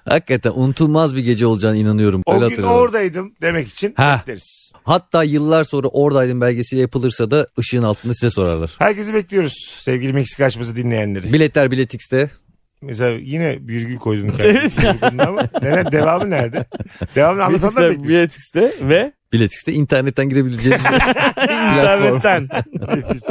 Speaker 2: Hakikaten unutulmaz bir gece olacağına inanıyorum.
Speaker 1: O
Speaker 2: Öyle
Speaker 1: gün
Speaker 2: hatırlıyorum.
Speaker 1: oradaydım demek için
Speaker 2: Ha.
Speaker 1: bekleriz.
Speaker 2: Hatta yıllar sonra oradaydım belgesiyle yapılırsa da ışığın altında size sorarlar.
Speaker 1: Herkesi bekliyoruz sevgili Meksika açması dinleyenleri.
Speaker 2: Biletler Biletix'te.
Speaker 1: Mesela yine virgül koydun kendini. ama nere, devamı nerede? Devamını anlatan da
Speaker 3: Bilgisayar
Speaker 1: bekliyoruz.
Speaker 3: Biletix'te ve
Speaker 2: Biletix'te internetten girebileceğiniz platform.
Speaker 3: internetten.
Speaker 1: Nefis.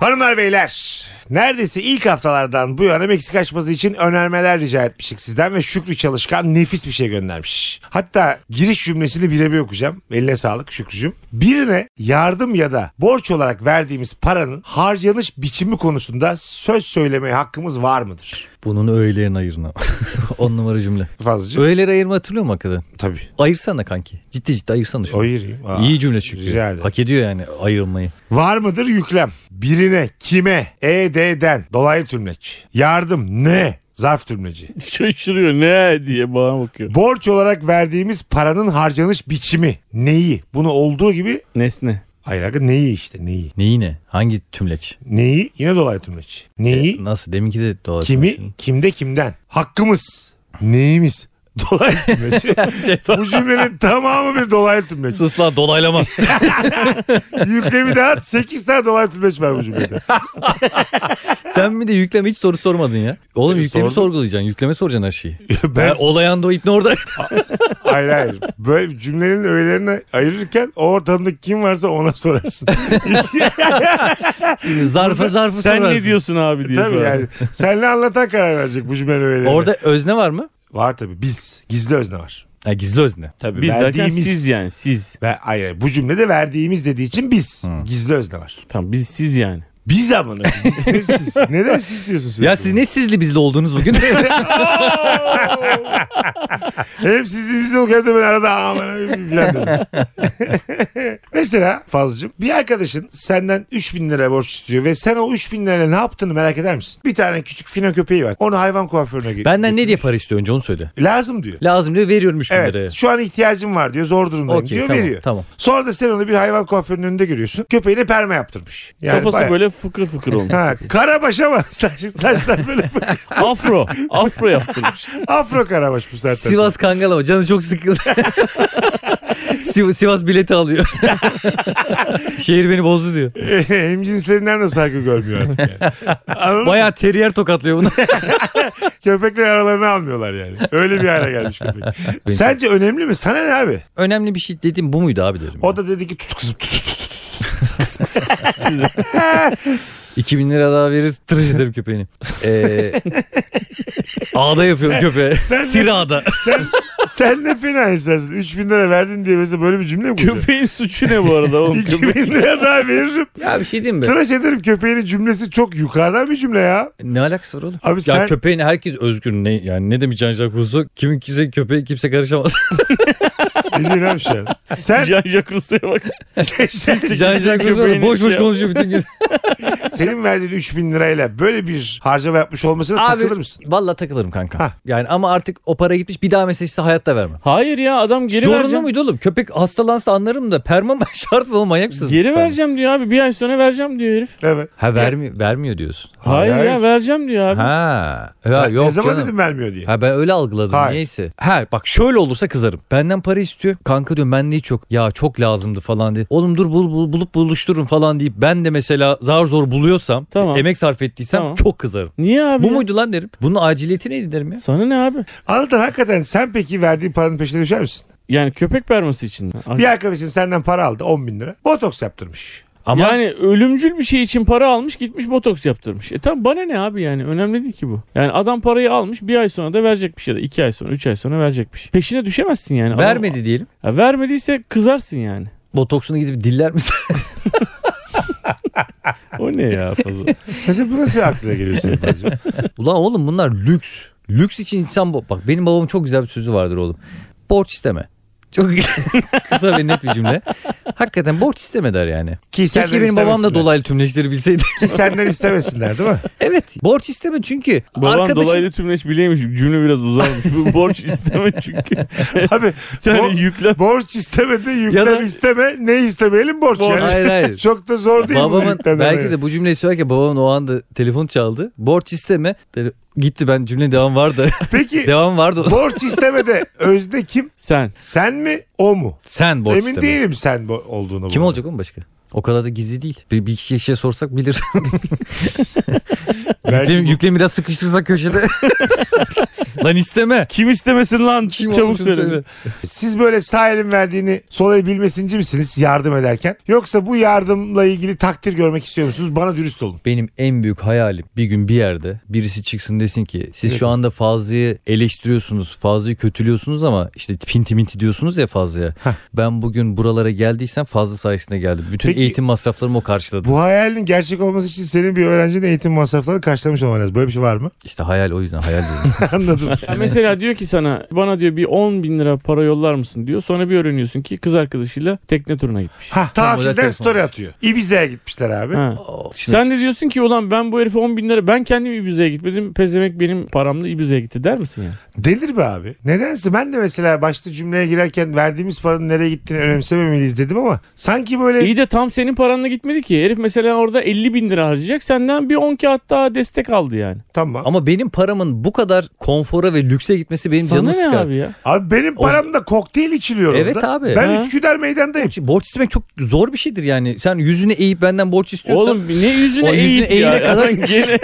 Speaker 1: Hanımlar beyler neredeyse ilk haftalardan bu yana Meksika açması için önermeler rica etmiştik sizden ve Şükrü Çalışkan nefis bir şey göndermiş. Hatta giriş cümlesini birebir okuyacağım. Eline sağlık Şükrücüğüm. Birine yardım ya da borç olarak verdiğimiz paranın harcanış biçimi konusunda söz söylemeye hakkımız var mıdır?
Speaker 2: Bunun öğleyen ayırına. On numara cümle.
Speaker 1: Fazlacığım.
Speaker 2: Öğleleri ayırma hatırlıyor musun hakikaten?
Speaker 1: Tabii.
Speaker 2: Ayırsana kanki. Ciddi ciddi ayırsana şunu.
Speaker 1: O yeriyim. Aa.
Speaker 2: İyi cümle çünkü.
Speaker 1: rica ederim.
Speaker 2: Hak ediyor yani ayrılmayı.
Speaker 1: Var mıdır yüklem? Birine, kime, ED'den, dolaylı tümleç. Yardım, ne? Zarf tümleci.
Speaker 3: Şaşırıyor ne diye bana bakıyor.
Speaker 1: Borç olarak verdiğimiz paranın harcanış biçimi. Neyi? Bunu olduğu gibi
Speaker 3: Nesne.
Speaker 1: hayır aga neyi işte neyi?
Speaker 2: Neyi ne? Hangi tümleç?
Speaker 1: Neyi? Yine dolaylı tümleç. Neyi?
Speaker 2: E, Nasıl? Deminki de dolaşmış.
Speaker 1: kimi? Kimde kimden? Hakkımız. Neyimiz? Dolaylı tümleç. Bu cümlenin tamamı bir dolaylı tümleç.
Speaker 2: Sus lan dolaylama.
Speaker 1: Yüklemi de at. 8 tane dolaylı tümleç var bu cümlede.
Speaker 2: Sen bir de yükleme hiç soru sormadın ya. Oğlum
Speaker 1: Evet,
Speaker 2: yüklemi
Speaker 1: E, sordum.
Speaker 2: sorgulayacaksın. Yükleme soracaksın her şeyi.
Speaker 1: ben,
Speaker 2: Ben... Olayan da o ipne orada.
Speaker 1: Hayır hayır. Böyle cümlenin öğelerini ayırırken o ortamda kim varsa ona sorarsın.
Speaker 2: zarfa zarfa
Speaker 3: Sen
Speaker 2: sorarsın.
Speaker 3: ne diyorsun abi diye
Speaker 1: Tabii
Speaker 3: sorarsın.
Speaker 1: yani. Senle anlatan karar verecek bu cümlenin öğelerini.
Speaker 2: Orada özne var mı?
Speaker 1: Var tabii biz. Gizli özne var.
Speaker 2: Ha, gizli özne.
Speaker 1: Tabii
Speaker 3: Biz derken siz yani siz.
Speaker 1: Ve, hayır, hayır, bu cümlede verdiğimiz dediği için biz. Gizli özne var.
Speaker 3: Tamam biz siz yani.
Speaker 1: Biz amına. Biz, biz, siz. Neden siz diyorsun sürekli?
Speaker 2: Ya siz ne sizli bizli oldunuz bugün?
Speaker 1: Hem sizin bizim olurken de ben arada amına koyayım falan dedim. Mesela Fazlıcığım bir arkadaşın senden 3000 lira borç istiyor ve sen o 3000 lirayla ne yaptığını merak eder misin? Bir tane küçük fino köpeği var. Onu hayvan kuaförüne git.
Speaker 2: Benden ne diye para istiyor önce onu söyle.
Speaker 1: Lazım diyor.
Speaker 2: Lazım diyor veriyorum 3 bin
Speaker 1: Evet
Speaker 2: liraya.
Speaker 1: şu an ihtiyacım var diyor zor durumdayım
Speaker 2: Okey
Speaker 1: diyor
Speaker 2: tamam,
Speaker 1: veriyor.
Speaker 2: tamam.
Speaker 1: Sonra da sen onu bir hayvan kuaförünün önünde görüyorsun. Köpeğine perma yaptırmış. Yani
Speaker 3: Kafası
Speaker 1: bayağı-
Speaker 3: böyle fıkır fıkır olmuş.
Speaker 1: Ha, karabaş ama saç, saçlar böyle fıkır.
Speaker 3: afro. Afro yaptırmış.
Speaker 1: afro karabaş bu saatten sonra.
Speaker 2: Sivas Kangalama canı çok sıkıldı. Siv- Sivas bileti alıyor. Şehir beni bozdu diyor.
Speaker 1: Hemcinslerinden de saygı görmüyor artık yani. Anladın mı?
Speaker 2: Bayağı teriyer tokatlıyor bunu.
Speaker 1: Köpekler aralarını almıyorlar yani. Öyle bir hale gelmiş köpek.
Speaker 2: Benim-
Speaker 1: Sence önemli mi? Sana ne abi?
Speaker 2: Önemli bir şey dedim bu muydu abi dedim.
Speaker 1: O da dedi ki tut kızım tut.
Speaker 2: 2000 lira daha verir tıraş ederim köpeğini. Ee, ağda yapıyorum köpeği.
Speaker 1: sen-
Speaker 2: Sirada.
Speaker 1: Sen, sen ne fena insansın. 3000 lira verdin diye mesela böyle bir cümle mi kuracaksın?
Speaker 3: Köpeğin suçu ne bu arada oğlum?
Speaker 1: 2000 lira daha veririm.
Speaker 2: Ya bir şey diyeyim mi?
Speaker 1: Tıraş ederim köpeğinin cümlesi çok yukarıdan bir cümle ya.
Speaker 2: Ne alakası var oğlum?
Speaker 1: Abi
Speaker 2: ya
Speaker 1: sen
Speaker 2: köpeğin herkes özgür ne yani ne demiş Can Jacques Rousseau? Kimin kimse köpeği kimse karışamaz.
Speaker 1: ne diyorsun abi sen? Sen, şey,
Speaker 3: Jean-Jacques Rousseau'ya bak.
Speaker 1: sen, sen-
Speaker 2: Can Jacques Rousseau
Speaker 3: Köpeğini
Speaker 2: boş boş
Speaker 3: şey-
Speaker 2: konuşuyor bütün gün.
Speaker 1: senin verdiğin 3000 lirayla böyle bir harcama yapmış olmasına
Speaker 2: Abi
Speaker 1: takılır mısın?
Speaker 2: valla takılırım kanka.
Speaker 1: Hah.
Speaker 2: Yani ama artık o para gitmiş bir daha mesela işte hayatta vermem.
Speaker 3: Hayır ya adam geri
Speaker 2: Zorunlu
Speaker 3: vereceğim.
Speaker 2: muydu oğlum? Köpek hastalansa anlarım da perma mı? şart mı oğlum manyak mısınız?
Speaker 3: Geri
Speaker 2: Perma.
Speaker 3: vereceğim diyor abi. Bir ay sonra vereceğim diyor herif.
Speaker 1: Evet.
Speaker 2: Ha vermiyor, vermiyor diyorsun.
Speaker 3: Hayır, ya vereceğim diyor abi.
Speaker 2: Ha. Ya,
Speaker 1: Ha,
Speaker 2: yok
Speaker 1: ne zaman
Speaker 2: canım.
Speaker 1: dedim vermiyor diye.
Speaker 2: Ha ben öyle algıladım
Speaker 1: Hayır.
Speaker 2: neyse. Ha bak şöyle olursa kızarım. Benden para istiyor. Kanka diyorum bende hiç yok. Ya çok lazımdı falan diye. Oğlum dur bul, bul- bulup buluşturun falan deyip ben de mesela zar zor buluyorsam
Speaker 3: Tamam.
Speaker 2: emek sarf ettiysem
Speaker 3: Tamam.
Speaker 2: çok kızarım.
Speaker 3: Niye abi?
Speaker 2: Bu
Speaker 3: ya?
Speaker 2: muydu lan derim. Bunun aciliyeti neydi derim ya.
Speaker 3: Sana ne abi?
Speaker 1: Anlatan hakikaten sen peki verdiğin paranın peşine düşer misin?
Speaker 3: Yani köpek perması için.
Speaker 1: Bir arkadaşın senden para aldı 10 bin lira. Botoks yaptırmış.
Speaker 2: Ama
Speaker 3: Yani ölümcül bir şey için para almış gitmiş botoks yaptırmış. E tamam bana ne abi yani önemli değil ki bu. Yani adam parayı almış bir ay sonra da verecekmiş ya da iki ay sonra üç ay sonra verecekmiş. Peşine düşemezsin yani.
Speaker 2: vermedi diyelim.
Speaker 3: Adam- Ha, vermediyse kızarsın yani.
Speaker 2: Botoksunu gidip diller misin?
Speaker 3: O ne ya fazla.
Speaker 1: Mesela bu nasıl aklına geliyor senin Fazlıcığım?
Speaker 2: Ulan oğlum bunlar lüks. Lüks için insan bu. Bak benim babamın çok güzel bir sözü vardır oğlum. Borç isteme. Çok kısa ve net bir cümle. Hakikaten borç isteme der yani.
Speaker 1: Ki
Speaker 2: Keşke
Speaker 1: senden
Speaker 2: benim babam da
Speaker 1: istemesinler.
Speaker 2: dolaylı tümleçleri bilseydi.
Speaker 1: Ki senden istemesinler değil mi?
Speaker 2: evet borç isteme çünkü
Speaker 3: Babam
Speaker 2: arkadaşın
Speaker 3: dolaylı tümleş bilemiş. Cümle biraz uzarmış. Bu borç isteme çünkü.
Speaker 1: Abi
Speaker 3: Bir tane
Speaker 1: Bo-
Speaker 3: yükle.
Speaker 1: borç istemedi,
Speaker 2: Ya
Speaker 1: yüklem
Speaker 2: da-
Speaker 1: isteme. Ne istemeyelim borç.
Speaker 3: Borç.
Speaker 1: Yani.
Speaker 2: Hayır hayır.
Speaker 1: Çok da zor değil bu
Speaker 2: Babamın
Speaker 1: yüklemden
Speaker 2: belki
Speaker 1: yani.
Speaker 2: de bu cümleyi söylerken babamın o anda telefon çaldı. Borç isteme. Dedi, Gitti ben cümle devam vardı.
Speaker 1: Peki
Speaker 2: devam vardı.
Speaker 1: borç istemede özde kim?
Speaker 3: Sen.
Speaker 1: Sen mi o mu?
Speaker 2: Sen borç
Speaker 1: Emin
Speaker 2: isteme.
Speaker 1: değilim sen bo- olduğunu.
Speaker 2: Kim
Speaker 1: bu.
Speaker 2: olacak oğlum başka? O kadar da gizli değil. Bir, bir kişiye sorsak bilir.
Speaker 1: Belki
Speaker 2: Yüklemi,
Speaker 1: bu-
Speaker 2: yüklemi Hani biraz sıkıştırsak köşede. Lan isteme.
Speaker 3: Kim istemesin lan?
Speaker 2: Kim
Speaker 3: Çabuk
Speaker 2: olduğunu
Speaker 3: söyle.
Speaker 1: Siz böyle sağ elin verdiğini sol el bilmesinci misiniz yardım ederken? Yoksa bu yardımla ilgili takdir görmek istiyor musunuz? Bana dürüst olun.
Speaker 2: Benim en büyük hayalim bir gün bir yerde birisi çıksın desin ki siz
Speaker 1: Evet.
Speaker 2: şu anda Fazlı'yı eleştiriyorsunuz, Fazlı'yı kötülüyorsunuz ama işte pinti minti diyorsunuz ya Fazlı'ya. Ben bugün buralara geldiysem Fazlı sayesinde geldim. Bütün
Speaker 1: Peki-
Speaker 2: eğitim masraflarımı o karşıladı.
Speaker 1: Bu hayalin gerçek olması için senin bir öğrencinin eğitim masraflarını karşılamış olman lazım. Böyle bir şey var mı?
Speaker 2: İşte hayal o yüzden hayal diyorum.
Speaker 1: Anladım.
Speaker 3: Ya mesela diyor ki sana bana diyor bir 10 bin lira para yollar mısın diyor. Sonra bir öğreniyorsun ki kız arkadaşıyla tekne turuna gitmiş.
Speaker 1: ha,
Speaker 2: model
Speaker 1: tatilden
Speaker 2: telefon.
Speaker 1: story atıyor. Ibiza'ya gitmişler abi.
Speaker 3: Ha.
Speaker 2: Aa, şimdi-
Speaker 3: Sen de diyorsun ki ulan ben bu herife 10 bin lira ben kendim Ibiza'ya gitmedim. Pezemek benim paramla Ibiza'ya gitti der misin yani?
Speaker 1: Delir be abi. Nedense ben de mesela başta cümleye girerken verdiğimiz paranın nereye gittiğini önemsememeliyiz dedim ama sanki böyle
Speaker 3: İyi de tam senin paranla gitmedi ki. Herif mesela orada 50 bin lira harcayacak. Senden bir 10 kağıt daha destek aldı yani.
Speaker 1: tamam.
Speaker 2: Ama benim paramın bu kadar konfora ve lükse gitmesi benim
Speaker 3: Sana
Speaker 2: canımı
Speaker 3: ne
Speaker 2: sıkar.
Speaker 3: abi ya?
Speaker 1: Abi benim paramda kokteyl içiliyor
Speaker 2: Evet
Speaker 1: orada.
Speaker 2: abi.
Speaker 1: Ben
Speaker 3: Ha.
Speaker 1: Üsküdar meydandayım.
Speaker 2: Şimdi borç istemek çok zor bir şeydir yani. Sen yüzünü eğip benden borç istiyorsan.
Speaker 3: Oğlum ne yüzüne
Speaker 2: O yüzüne
Speaker 3: eğip ya.
Speaker 2: eğine kadar-
Speaker 3: gene,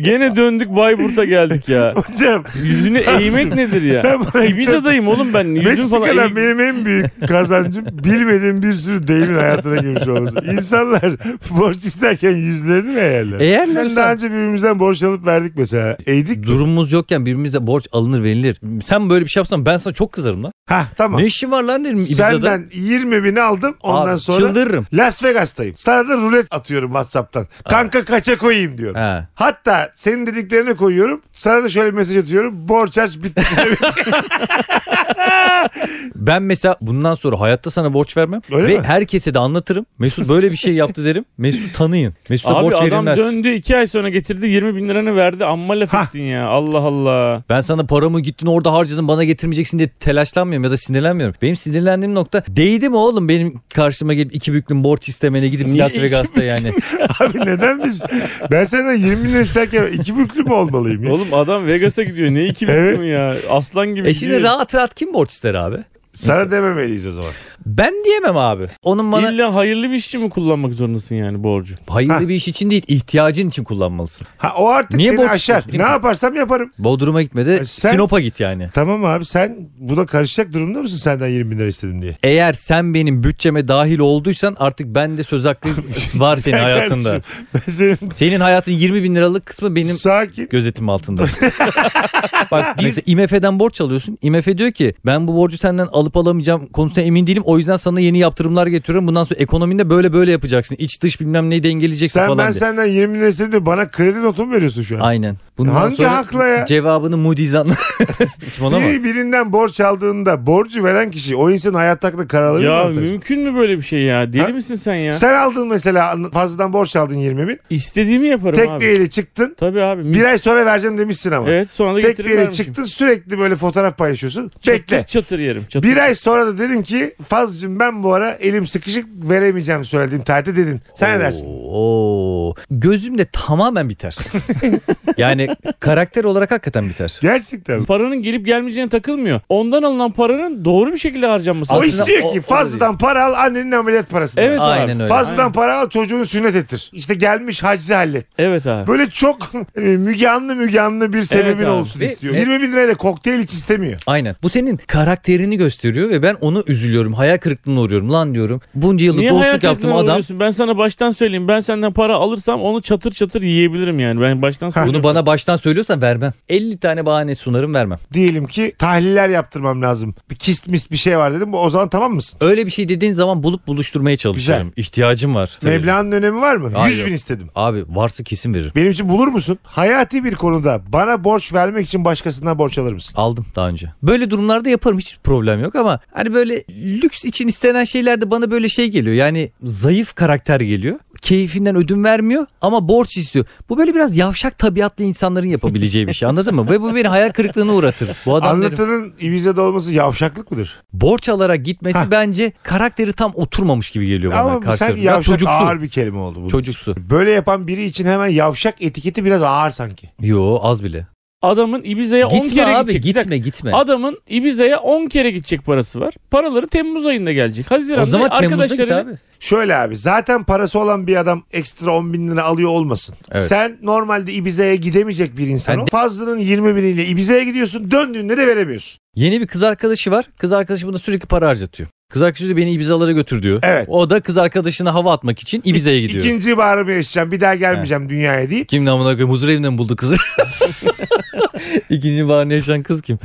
Speaker 3: gene döndük Bayburt'a geldik ya.
Speaker 1: Hocam
Speaker 3: Yüzüne eğmek nedir ya?
Speaker 1: Sen bana-
Speaker 3: Ibiza'dayım oğlum ben. Yüzüm falan
Speaker 1: Meksika'dan
Speaker 3: eğik-
Speaker 1: benim en büyük kazancım bilmediğim bir sürü deyimin hayatına girmiş olması. İnsanlar borç isterken yüzlerini mi eğerler?
Speaker 2: Eğer
Speaker 1: Sen daha önce birbirimizden borç alıp verdik mesela. Eğdik mi?
Speaker 2: durumumuz yokken birbirimize borç alınır verilir. Sen böyle bir şey yapsan ben sana çok kızarım lan.
Speaker 1: Hah tamam.
Speaker 2: Ne işin var lan derim Ibiza'da.
Speaker 1: Senden 20 bini aldım ondan
Speaker 2: Abi,
Speaker 1: sonra
Speaker 2: Çıldırırım.
Speaker 1: Las Vegas'tayım. Sana da rulet atıyorum Whatsapp'tan. Kanka kaça koyayım diyorum.
Speaker 2: He.
Speaker 1: Hatta senin dediklerine koyuyorum. Sana da şöyle bir mesaj atıyorum. Borç harç bitti.
Speaker 2: Ben mesela bundan sonra hayatta sana borç vermem.
Speaker 1: Öyle
Speaker 2: ve
Speaker 1: mi?
Speaker 2: herkese de anlatırım. Mesut böyle bir şey yaptı derim. Mesut tanıyın. Mesut'a
Speaker 3: Abi
Speaker 2: borç
Speaker 3: adam
Speaker 2: verilmez.
Speaker 3: döndü 2 ay sonra getirdi 20 bin liranı verdi. Amma laf ettin ya. Allah Allah.
Speaker 2: Ben sana paramı gittin orada harcadın bana getirmeyeceksin diye telaşlanmıyorum ya da sinirlenmiyorum. Benim sinirlendiğim nokta değdi mi oğlum benim karşıma gelip iki büklüm borç istemene gidip
Speaker 3: Niye
Speaker 2: Las
Speaker 3: iki
Speaker 2: Vegas'ta yani.
Speaker 1: Abi neden biz? Ben senden 20 bin lira isterken iki büklü mü olmalıyım? ya?
Speaker 3: Oğlum adam Vegas'a gidiyor. Ne iki
Speaker 1: Evet.
Speaker 3: büklüm ya? Aslan gibi
Speaker 2: E şimdi
Speaker 3: gidiyor.
Speaker 2: rahat rahat kim borç ister abi?
Speaker 1: Sana dememeliyiz o zaman.
Speaker 2: Ben diyemem abi. Onun bana
Speaker 3: İlla hayırlı bir işçi mi kullanmak zorundasın yani borcu?
Speaker 2: hayırlı
Speaker 1: Hah.
Speaker 2: bir iş için değil ihtiyacın için kullanmalısın.
Speaker 1: Ha, o artık
Speaker 2: Niye
Speaker 1: seni
Speaker 2: borç
Speaker 1: aşar. Ne
Speaker 2: istiyorsun?
Speaker 1: yaparsam yaparım.
Speaker 2: Bodrum'a gitme de
Speaker 1: E sen-
Speaker 2: Sinop'a git yani.
Speaker 1: Tamam abi sen buna karışacak durumda mısın senden 20 bin lira istedim diye?
Speaker 2: Eğer sen benim bütçeme dahil olduysan artık ben de söz hakkı var senin hayatında.
Speaker 1: Kardeşim, Ben senin
Speaker 2: Senin hayatın 20 bin liralık kısmı benim
Speaker 1: sakin.
Speaker 2: gözetim altında. Bak mesela IMF'den borç alıyorsun. IMF diyor ki ben bu borcu senden alıp alamayacağım konusunda emin değilim. O yüzden sana yeni yaptırımlar getiriyorum. Bundan sonra ekonominde böyle böyle yapacaksın. İç dış bilmem neyi dengeleyeceksin
Speaker 1: Sen ben
Speaker 2: falan diye.
Speaker 1: senden 20 bin lira istedim diye bana kredi notu mu veriyorsun şu an?
Speaker 2: Aynen. Bundan
Speaker 1: Hangi
Speaker 2: sonra
Speaker 1: hakla ya?
Speaker 2: cevabını Moody's anla. Kim ona
Speaker 1: Biri birinden borç aldığında borcu veren kişi o insanın hayat hakkında karar alır
Speaker 3: ya
Speaker 1: mı? Anlatarsın?
Speaker 3: mümkün mü böyle bir şey ya? Deli
Speaker 1: Ha?
Speaker 3: misin sen ya?
Speaker 1: Sen aldın mesela fazladan borç aldın 20 bin.
Speaker 3: İstediğimi yaparım
Speaker 1: Tek
Speaker 3: abi.
Speaker 1: değeri çıktın.
Speaker 3: Tabii abi.
Speaker 1: Bir ay sonra vereceğim demişsin ama.
Speaker 2: E,
Speaker 3: Evet sonra da
Speaker 1: Tek
Speaker 3: getirip
Speaker 1: değeri
Speaker 3: vermişim.
Speaker 1: çıktın sürekli böyle fotoğraf paylaşıyorsun. Bekle.
Speaker 3: Çatır çatır yerim. Çatır.
Speaker 1: Bir ay sonra da dedin ki Fazlıcığım ben bu ara elim sıkışık veremeyeceğim söylediğim tarihte dedin. Sen ne dersin?
Speaker 2: Oo. Gözümde tamamen biter. yani karakter olarak hakikaten biter.
Speaker 1: Gerçekten. mi?
Speaker 3: Paranın gelip gelmeyeceğine takılmıyor. Ondan alınan paranın doğru bir şekilde harcanması.
Speaker 1: O
Speaker 2: Aslında
Speaker 1: istiyor
Speaker 2: o-
Speaker 1: ki
Speaker 2: o da
Speaker 1: fazladan para al annenin ameliyat parasını.
Speaker 3: Evet abi.
Speaker 2: Aynen öyle.
Speaker 1: Fazladan
Speaker 3: Aynen.
Speaker 1: para al çocuğunu sünnet ettir. İşte gelmiş hacizi hallet.
Speaker 3: Evet abi.
Speaker 1: Böyle çok e, müge anlı müge anlı bir sebebin
Speaker 3: abi.
Speaker 1: olsun
Speaker 2: Ve-
Speaker 1: istiyor.
Speaker 2: ve-
Speaker 1: 20 bin lirayla kokteyl hiç istemiyor.
Speaker 2: Aynen. Bu senin karakterini gösteriyor ve ben onu üzülüyorum. Hayal kırıklığına uğruyorum. Lan diyorum. Bunca yıllık
Speaker 3: Niye hayal
Speaker 2: dostluk yaptım
Speaker 3: kırıklığına
Speaker 2: adam.
Speaker 3: uğruyorsun? Ben sana baştan söyleyeyim. Ben senden para alırsam onu çatır çatır yiyebilirim yani. Ben baştan söyleyeyim.
Speaker 2: Bunu bana baştan söylüyorsan vermem. 50 tane bahane sunarım vermem.
Speaker 1: Diyelim ki tahliller yaptırmam lazım. Bir kist mist bir şey var dedim. Bu O zaman tamam mısın?
Speaker 2: Öyle bir şey dediğin zaman bulup buluşturmaya çalışıyorum. İhtiyacım var.
Speaker 1: Meblağın önemi var mı?
Speaker 2: Hayır,
Speaker 1: 100 bin
Speaker 2: yok.
Speaker 1: istedim.
Speaker 2: Abi varsa kesin veririm.
Speaker 1: Benim için bulur musun? Hayati bir konuda bana borç vermek için başkasından borç alır mısın?
Speaker 2: Aldım daha önce. Böyle durumlarda yaparım hiç problem yok ama hani böyle lüks için istenen şeyler de bana böyle şey geliyor. Yani zayıf karakter geliyor. Keyfinden ödün vermiyor ama borç istiyor. Bu böyle biraz yavşak tabiatlı insanların yapabileceği bir şey anladın mı? Ve bu beni hayal kırıklığına uğratır. Bu adam derim,
Speaker 1: Anlatanın Ibiza'da olması yavşaklık mıdır?
Speaker 2: borç alarak gitmesi bence karakteri tam oturmamış gibi geliyor bana.
Speaker 1: Ama
Speaker 2: karşı
Speaker 1: sen
Speaker 2: tarafın. Ya
Speaker 1: yavşak
Speaker 2: çocuksu.
Speaker 1: ağır bir kelime oldu. bu.
Speaker 2: Çocuksu.
Speaker 1: Böyle yapan biri için hemen yavşak etiketi biraz ağır sanki.
Speaker 2: Yo az bile.
Speaker 3: Adamın Ibiza'ya 10
Speaker 2: Gitme
Speaker 3: kere
Speaker 2: abi
Speaker 3: gidecek. Bir
Speaker 2: gitme gitme.
Speaker 3: Adamın Ibiza'ya 10 kere gidecek parası var. Paraları Temmuz ayında gelecek. Haziran'da
Speaker 2: o zaman Temmuz'da git
Speaker 3: arkadaşlarıyla
Speaker 2: abi.
Speaker 1: Şöyle abi zaten parası olan bir adam ekstra 10 bin lira alıyor olmasın.
Speaker 2: Evet.
Speaker 1: Sen normalde Ibiza'ya gidemeyecek bir insan.
Speaker 2: Ben
Speaker 1: ol. Fazlının 20 biniyle Ibiza'ya gidiyorsun döndüğünde de veremiyorsun.
Speaker 2: Yeni bir kız arkadaşı var. Kız arkadaşı buna sürekli para harcatıyor. Kız arkadaşı diyor beni Ibiza'lara götür diyor.
Speaker 1: Evet.
Speaker 2: O da kız arkadaşına hava atmak için Ibiza'ya gidiyor.
Speaker 1: İkinci bağrımı yaşayacağım bir daha gelmeyeceğim dünyaya deyip.
Speaker 2: Kim namına koyayım huzur evinde mi buldu kızı? İkinci bahane yaşayan kız kim?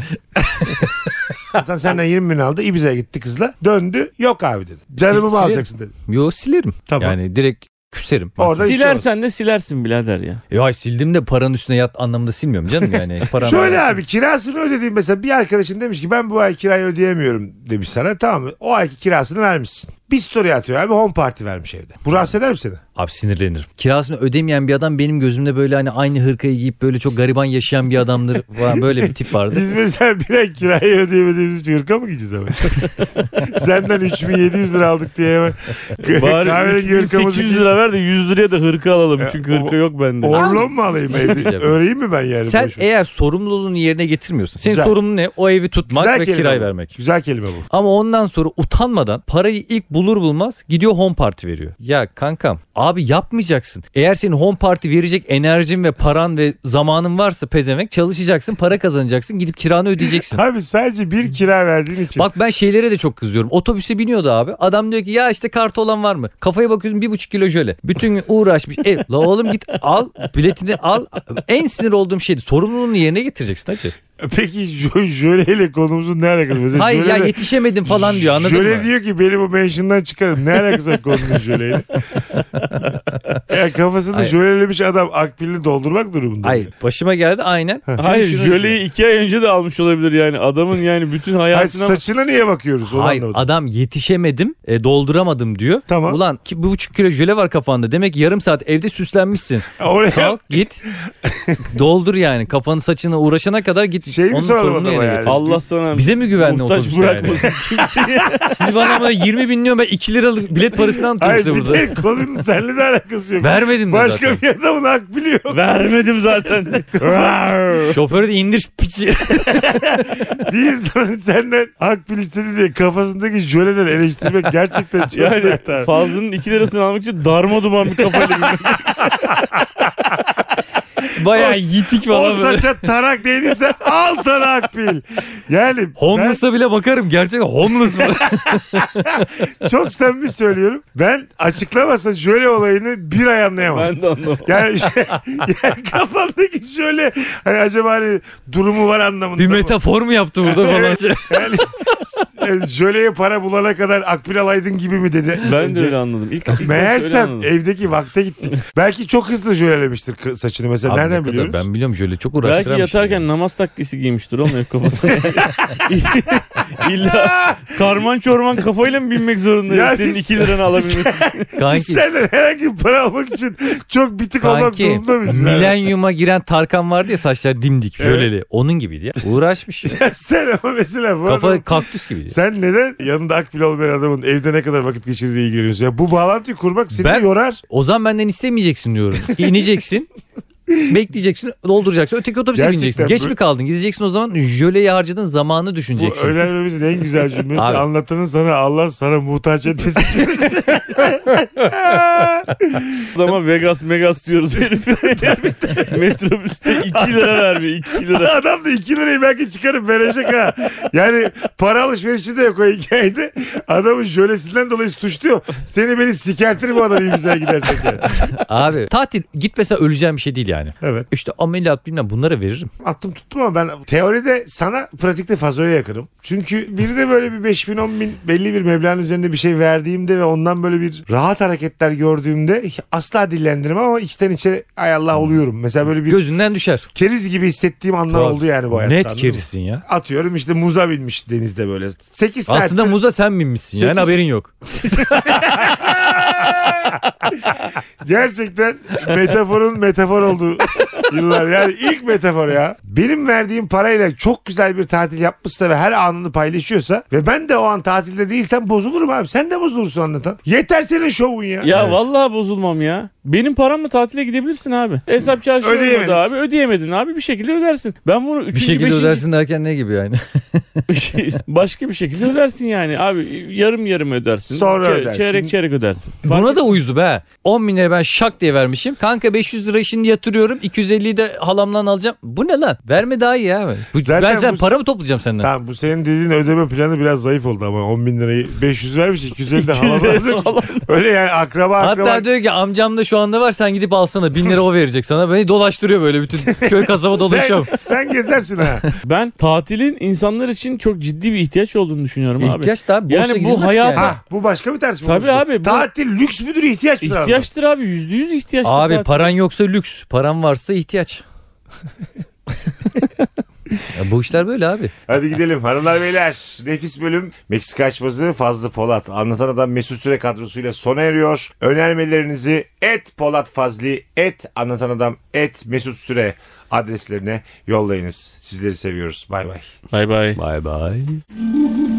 Speaker 1: Zaten senden 20 bin aldı Ibiza'ya gitti kızla. Döndü yok abi dedi. Canımı mı
Speaker 2: Silsile-
Speaker 1: alacaksın dedi.
Speaker 2: Yo silerim.
Speaker 1: Tamam.
Speaker 2: Yani direkt küserim.
Speaker 1: Orada iş olmaz.
Speaker 3: silersen de silersin birader ya.
Speaker 2: Yo ay sildim de paranın üstüne yat anlamında silmiyorum canım yani. Param
Speaker 1: Şöyle abi kirasını ödediğin mesela bir arkadaşın demiş ki ben bu ay kirayı ödeyemiyorum demiş sana tamam mı? O ayki kirasını vermişsin. Bir story atıyor abi home party vermiş evde. Bu rahatsız eder mi seni?
Speaker 2: Abi sinirlenirim. Kirasını ödemeyen bir adam benim gözümde böyle hani aynı hırkayı giyip böyle çok gariban yaşayan bir adamdır falan böyle bir tip vardı.
Speaker 1: Biz mesela bir ay kirayı ödeyemediğimiz için hırka mı gideceğiz hemen? Senden 3700 lira aldık diye hemen
Speaker 3: Bari 800 lira ver de 100 liraya da hırka alalım.
Speaker 1: Ya,
Speaker 3: Çünkü hırka
Speaker 1: o-
Speaker 3: yok bende.
Speaker 1: Orlon mu alayım evde?
Speaker 2: Güzel.
Speaker 1: Öreyim mi ben yani?
Speaker 2: şey Sen e-
Speaker 1: boş ver?
Speaker 2: eğer sorumluluğunu yerine getirmiyorsun. Senin
Speaker 1: Güzel.
Speaker 2: sorumlun ne? O evi tutmak
Speaker 1: Güzel
Speaker 2: ve
Speaker 1: kelime
Speaker 2: kirayı
Speaker 1: bu.
Speaker 2: vermek.
Speaker 1: Güzel kelime bu.
Speaker 2: Ama ondan sonra utanmadan parayı ilk bulur bulmaz gidiyor home party veriyor. Ya kankam abi yapmayacaksın. Eğer senin home party verecek enerjin ve paran ve zamanın varsa pezemek çalışacaksın para kazanacaksın gidip kiranı ödeyeceksin.
Speaker 1: Abi sadece bir kira verdiğin için.
Speaker 2: Bak ben şeylere de çok kızıyorum. Otobüse biniyordu abi. Adam diyor ki ya işte kartı olan var mı? Kafaya bakıyorsun bir buçuk kilo jöle. Bütün gün uğraşmış. E, la oğlum git al biletini al. En sinir olduğum şeydi. Sorumluluğunu yerine getireceksin hacı.
Speaker 1: Peki jö- jöleyle konumuzun ne alakası? Mesela
Speaker 2: Hayır ya
Speaker 1: jöle-
Speaker 2: yetişemedim falan diyor anladın
Speaker 1: Jöle
Speaker 2: mı?
Speaker 1: diyor ki beni bu mansion'dan çıkarın. Ne alakası var konunun jöleyle? ya kafasını
Speaker 2: Hayır.
Speaker 1: jölelemiş adam akbilini doldurmak durumunda.
Speaker 2: Hayır başıma geldi aynen.
Speaker 3: Hayır
Speaker 2: Çünkü şunu
Speaker 3: jöleyi 2 ay önce de almış olabilir yani. Adamın yani bütün
Speaker 1: Hayır,
Speaker 3: hayatına...
Speaker 1: saçına niye bakıyoruz? Onu
Speaker 2: Hayır
Speaker 1: anlamadım.
Speaker 2: adam yetişemedim e, dolduramadım diyor.
Speaker 1: Tamam.
Speaker 2: Ulan ki, bir buçuk kilo jöle var kafanda demek ki yarım saat evde süslenmişsin.
Speaker 1: Oraya
Speaker 2: Kalk git doldur yani kafanı saçını uğraşana kadar git.
Speaker 1: Şey mi soralım
Speaker 2: sorumluluğunu
Speaker 1: adama
Speaker 2: yerine
Speaker 1: yani?
Speaker 2: getir.
Speaker 3: Allah sana
Speaker 2: Bize mi güvenli
Speaker 3: muhtaç
Speaker 2: otobüs yani?
Speaker 3: bırakmasın kimseyi.
Speaker 2: Siz bana ama 20 bin diyorum ben 2 liralık bilet parasından tutuyorum
Speaker 1: Hayır
Speaker 2: size
Speaker 1: bir
Speaker 2: burada.
Speaker 1: de konunun seninle de alakası yok.
Speaker 2: Vermedim de
Speaker 1: Başka
Speaker 2: zaten.
Speaker 1: bir adamın akbili yok.
Speaker 3: Vermedim zaten.
Speaker 2: Şoförü de indir şu piçi.
Speaker 1: bir insanın senden akbil istedi diye kafasındaki jöleden eleştirmek gerçekten çok
Speaker 3: yani
Speaker 1: sert abi.
Speaker 3: fazlının 2 lirasını almak için darma duman bir kafayla gidiyor.
Speaker 2: Bayağı yitik
Speaker 1: O
Speaker 2: falan böyle.
Speaker 1: saça tarak değdiyse al sana akbil. Yani ben-
Speaker 2: Homeless'a bile bakarım gerçekten homeless mı?
Speaker 1: Çok samimi söylüyorum. Ben açıklamasa şöyle olayını bir ay anlayamam.
Speaker 3: Ben de anlamadım.
Speaker 1: Yani, şey, yani kafamdaki şöyle hani acaba hani durumu var anlamında.
Speaker 2: bir
Speaker 1: mı?
Speaker 2: metafor mu yaptı burada falan
Speaker 1: Evet.
Speaker 2: şey.
Speaker 1: Yani, yani jöleye para bulana kadar akbil alaydın gibi mi dedi.
Speaker 3: Ben de
Speaker 1: Önce.
Speaker 3: öyle anladım. İlk, ilk başta öyle
Speaker 1: Meğersem
Speaker 3: anladım.
Speaker 1: evdaki vakte gittik. Belki çok hızlı jölelemiştir kı- saçını mesela.
Speaker 2: Abi ne
Speaker 1: Nereden
Speaker 2: kadar-
Speaker 1: biliyoruz?
Speaker 2: Ben biliyorum jöle çok
Speaker 3: Belki
Speaker 2: uğraştıran bir şey
Speaker 3: yatarken
Speaker 2: yani.
Speaker 3: namaz takkisi giymiştir oğlum hep kafasına. İlla karman çorman kafayla mı binmek zorundayız
Speaker 1: Ya
Speaker 3: senin
Speaker 1: biz-
Speaker 3: 2 liranı alabilmek için?
Speaker 1: Biz
Speaker 2: Kanki,
Speaker 1: senden herhangi bir para almak için çok bitik olmak
Speaker 2: kanki
Speaker 1: durumunda mıyız?
Speaker 2: milenyuma giren Tarkan vardı ya saçlar dimdik,
Speaker 1: Evet.
Speaker 2: jöleli. Onun gibiydi ya. Uğraşmış. ya.
Speaker 1: Sen ama mesela bu adam-
Speaker 2: Kafa kaktüs gibiydi. ya.
Speaker 1: Sen neden yanında akbil olmayan adamın evde ne kadar vakit geçirdiği ilgileniyorsun? Ya bu bağlantıyı kurmak seni
Speaker 2: Ben-
Speaker 1: yorar.
Speaker 2: Ozan benden istemeyeceksin diyorum. İneceksin. bekleyeceksin, dolduracaksın. Öteki otobüse
Speaker 1: Gerçekten
Speaker 2: bineceksin.
Speaker 1: bu-
Speaker 2: Geç mi kaldın? Gideceksin o zaman jöleyi harcadığın zamanı
Speaker 1: Bu
Speaker 2: düşüneceksin.
Speaker 1: öğrenmemizin en güzel cümlesi
Speaker 2: Abi.
Speaker 1: anlatanın sana Allah sana muhtaç etmesin.
Speaker 3: Adama Vegas Megas diyoruz herif. Metrobüste 2 lira vermiyor 2 lira.
Speaker 1: Adam da 2 lirayı belki çıkarıp verecek ha. Yani para alışverişi de yok o hikayede. Adamın jölesinden dolayı suçluyor. Seni beni sikertir bu adam iyi güzel gidersek yani.
Speaker 2: Abi tatil git mesela öleceğim bir şey değil yani. yani.
Speaker 1: Evet.
Speaker 2: İşte ameliyat bilmem bunlara veririm.
Speaker 1: Attım tuttum ama ben teoride sana pratikte fazoya yakınım. Çünkü biri de böyle bir 5 bin 10 bin belli bir meblağın üzerinde bir şey verdiğimde ve ondan böyle bir rahat hareketler gördüğümde asla dillendirmem ama içten içe ay
Speaker 2: Hmm.
Speaker 1: Allah oluyorum. Mesela böyle bir
Speaker 2: Gözünden düşer.
Speaker 1: keriz gibi hissettiğim anlar
Speaker 2: Kral,
Speaker 1: oldu yani bu hayatta.
Speaker 2: Net
Speaker 1: anladın mı?
Speaker 2: kerissin ya.
Speaker 1: Atıyorum işte muza binmiş denizde böyle. 8 saat.
Speaker 2: Aslında muza sen binmişsin yani
Speaker 1: Sekiz-
Speaker 2: haberin yok.
Speaker 1: Gerçekten metaforun metafor olduğu yıllar. Yani ilk metafor ya. Benim verdiğim parayla çok güzel bir tatil yapmışsa ve her anını paylaşıyorsa ve ben de o an tatilde değilsem bozulurum abi. Sen de bozulursun anlatan. Yeter senin şovun ya.
Speaker 3: Ya
Speaker 2: Evet.
Speaker 3: vallahi bozulmam ya. Benim paramla tatile gidebilirsin abi. Hesap çarşı
Speaker 1: Ödeyemedim.
Speaker 3: olmadı abi. Ödeyemedin abi bir şekilde ödersin. Ben bunu 3.
Speaker 2: Bir şekilde ödersin derken ne gibi yani?
Speaker 3: başka bir şekilde ödersin yani. Abi yarım yarım ödersin.
Speaker 1: Sonra
Speaker 3: Çe-
Speaker 1: ödersin.
Speaker 3: Çeyrek çeyrek ödersin.
Speaker 2: Buna da uyuzum ha. 10 bin lira ben şak diye vermişim. Kanka 500 lira şimdi yatırıyorum. 250'yi de halamdan alacağım. Bu ne lan? Verme daha iyi abi. Bu-
Speaker 1: Zaten
Speaker 2: ben sen
Speaker 1: bu-
Speaker 2: para mı toplayacağım senden?
Speaker 1: Tamam bu senin dediğin ödeme planı biraz zayıf oldu ama 10 bin lirayı 500 vermiş 250 de halam
Speaker 3: 250
Speaker 1: alacak.
Speaker 3: halam.
Speaker 1: Öyle yani akraba
Speaker 2: Hatta
Speaker 1: akraba.
Speaker 2: diyor ki amcam da şu anda var sen gidip alsana. 1000 lira o verecek sana. Beni dolaştırıyor böyle bütün köy kasaba
Speaker 1: sen,
Speaker 2: dolaşıyorum.
Speaker 1: sen gezersin ha.
Speaker 3: Ben tatilin insanlar için çok ciddi bir ihtiyaç olduğunu düşünüyorum abi.
Speaker 2: İhtiyaç da abi.
Speaker 3: Yani
Speaker 2: Borçla
Speaker 3: bu
Speaker 2: gidilmez ki
Speaker 3: hayat-
Speaker 2: yani.
Speaker 1: ha bu başka bir ters mi?
Speaker 3: Tabii
Speaker 1: olursa?
Speaker 3: abi, bu-
Speaker 1: Tatil lüks müdür ihtiyaç mıdır? anlatan?
Speaker 3: İhtiyaçtır abi yüzde yüz ihtiyaçtır.
Speaker 2: Abi
Speaker 3: tatil.
Speaker 2: paran yoksa lüks. Paran varsa ihtiyaç. ya bu işler böyle abi.
Speaker 1: Hadi gidelim hanımlar beyler. Nefis bölüm. Meksika açması Fazlı Polat. Anlatan adam Mesut Süre kadrosuyla sona eriyor. Önermelerinizi et Polat Fazlı, et anlatan adam, et Mesut Süre adreslerine yollayınız. Sizleri seviyoruz. Bay bay.
Speaker 3: Bay bay.
Speaker 2: Bay bay.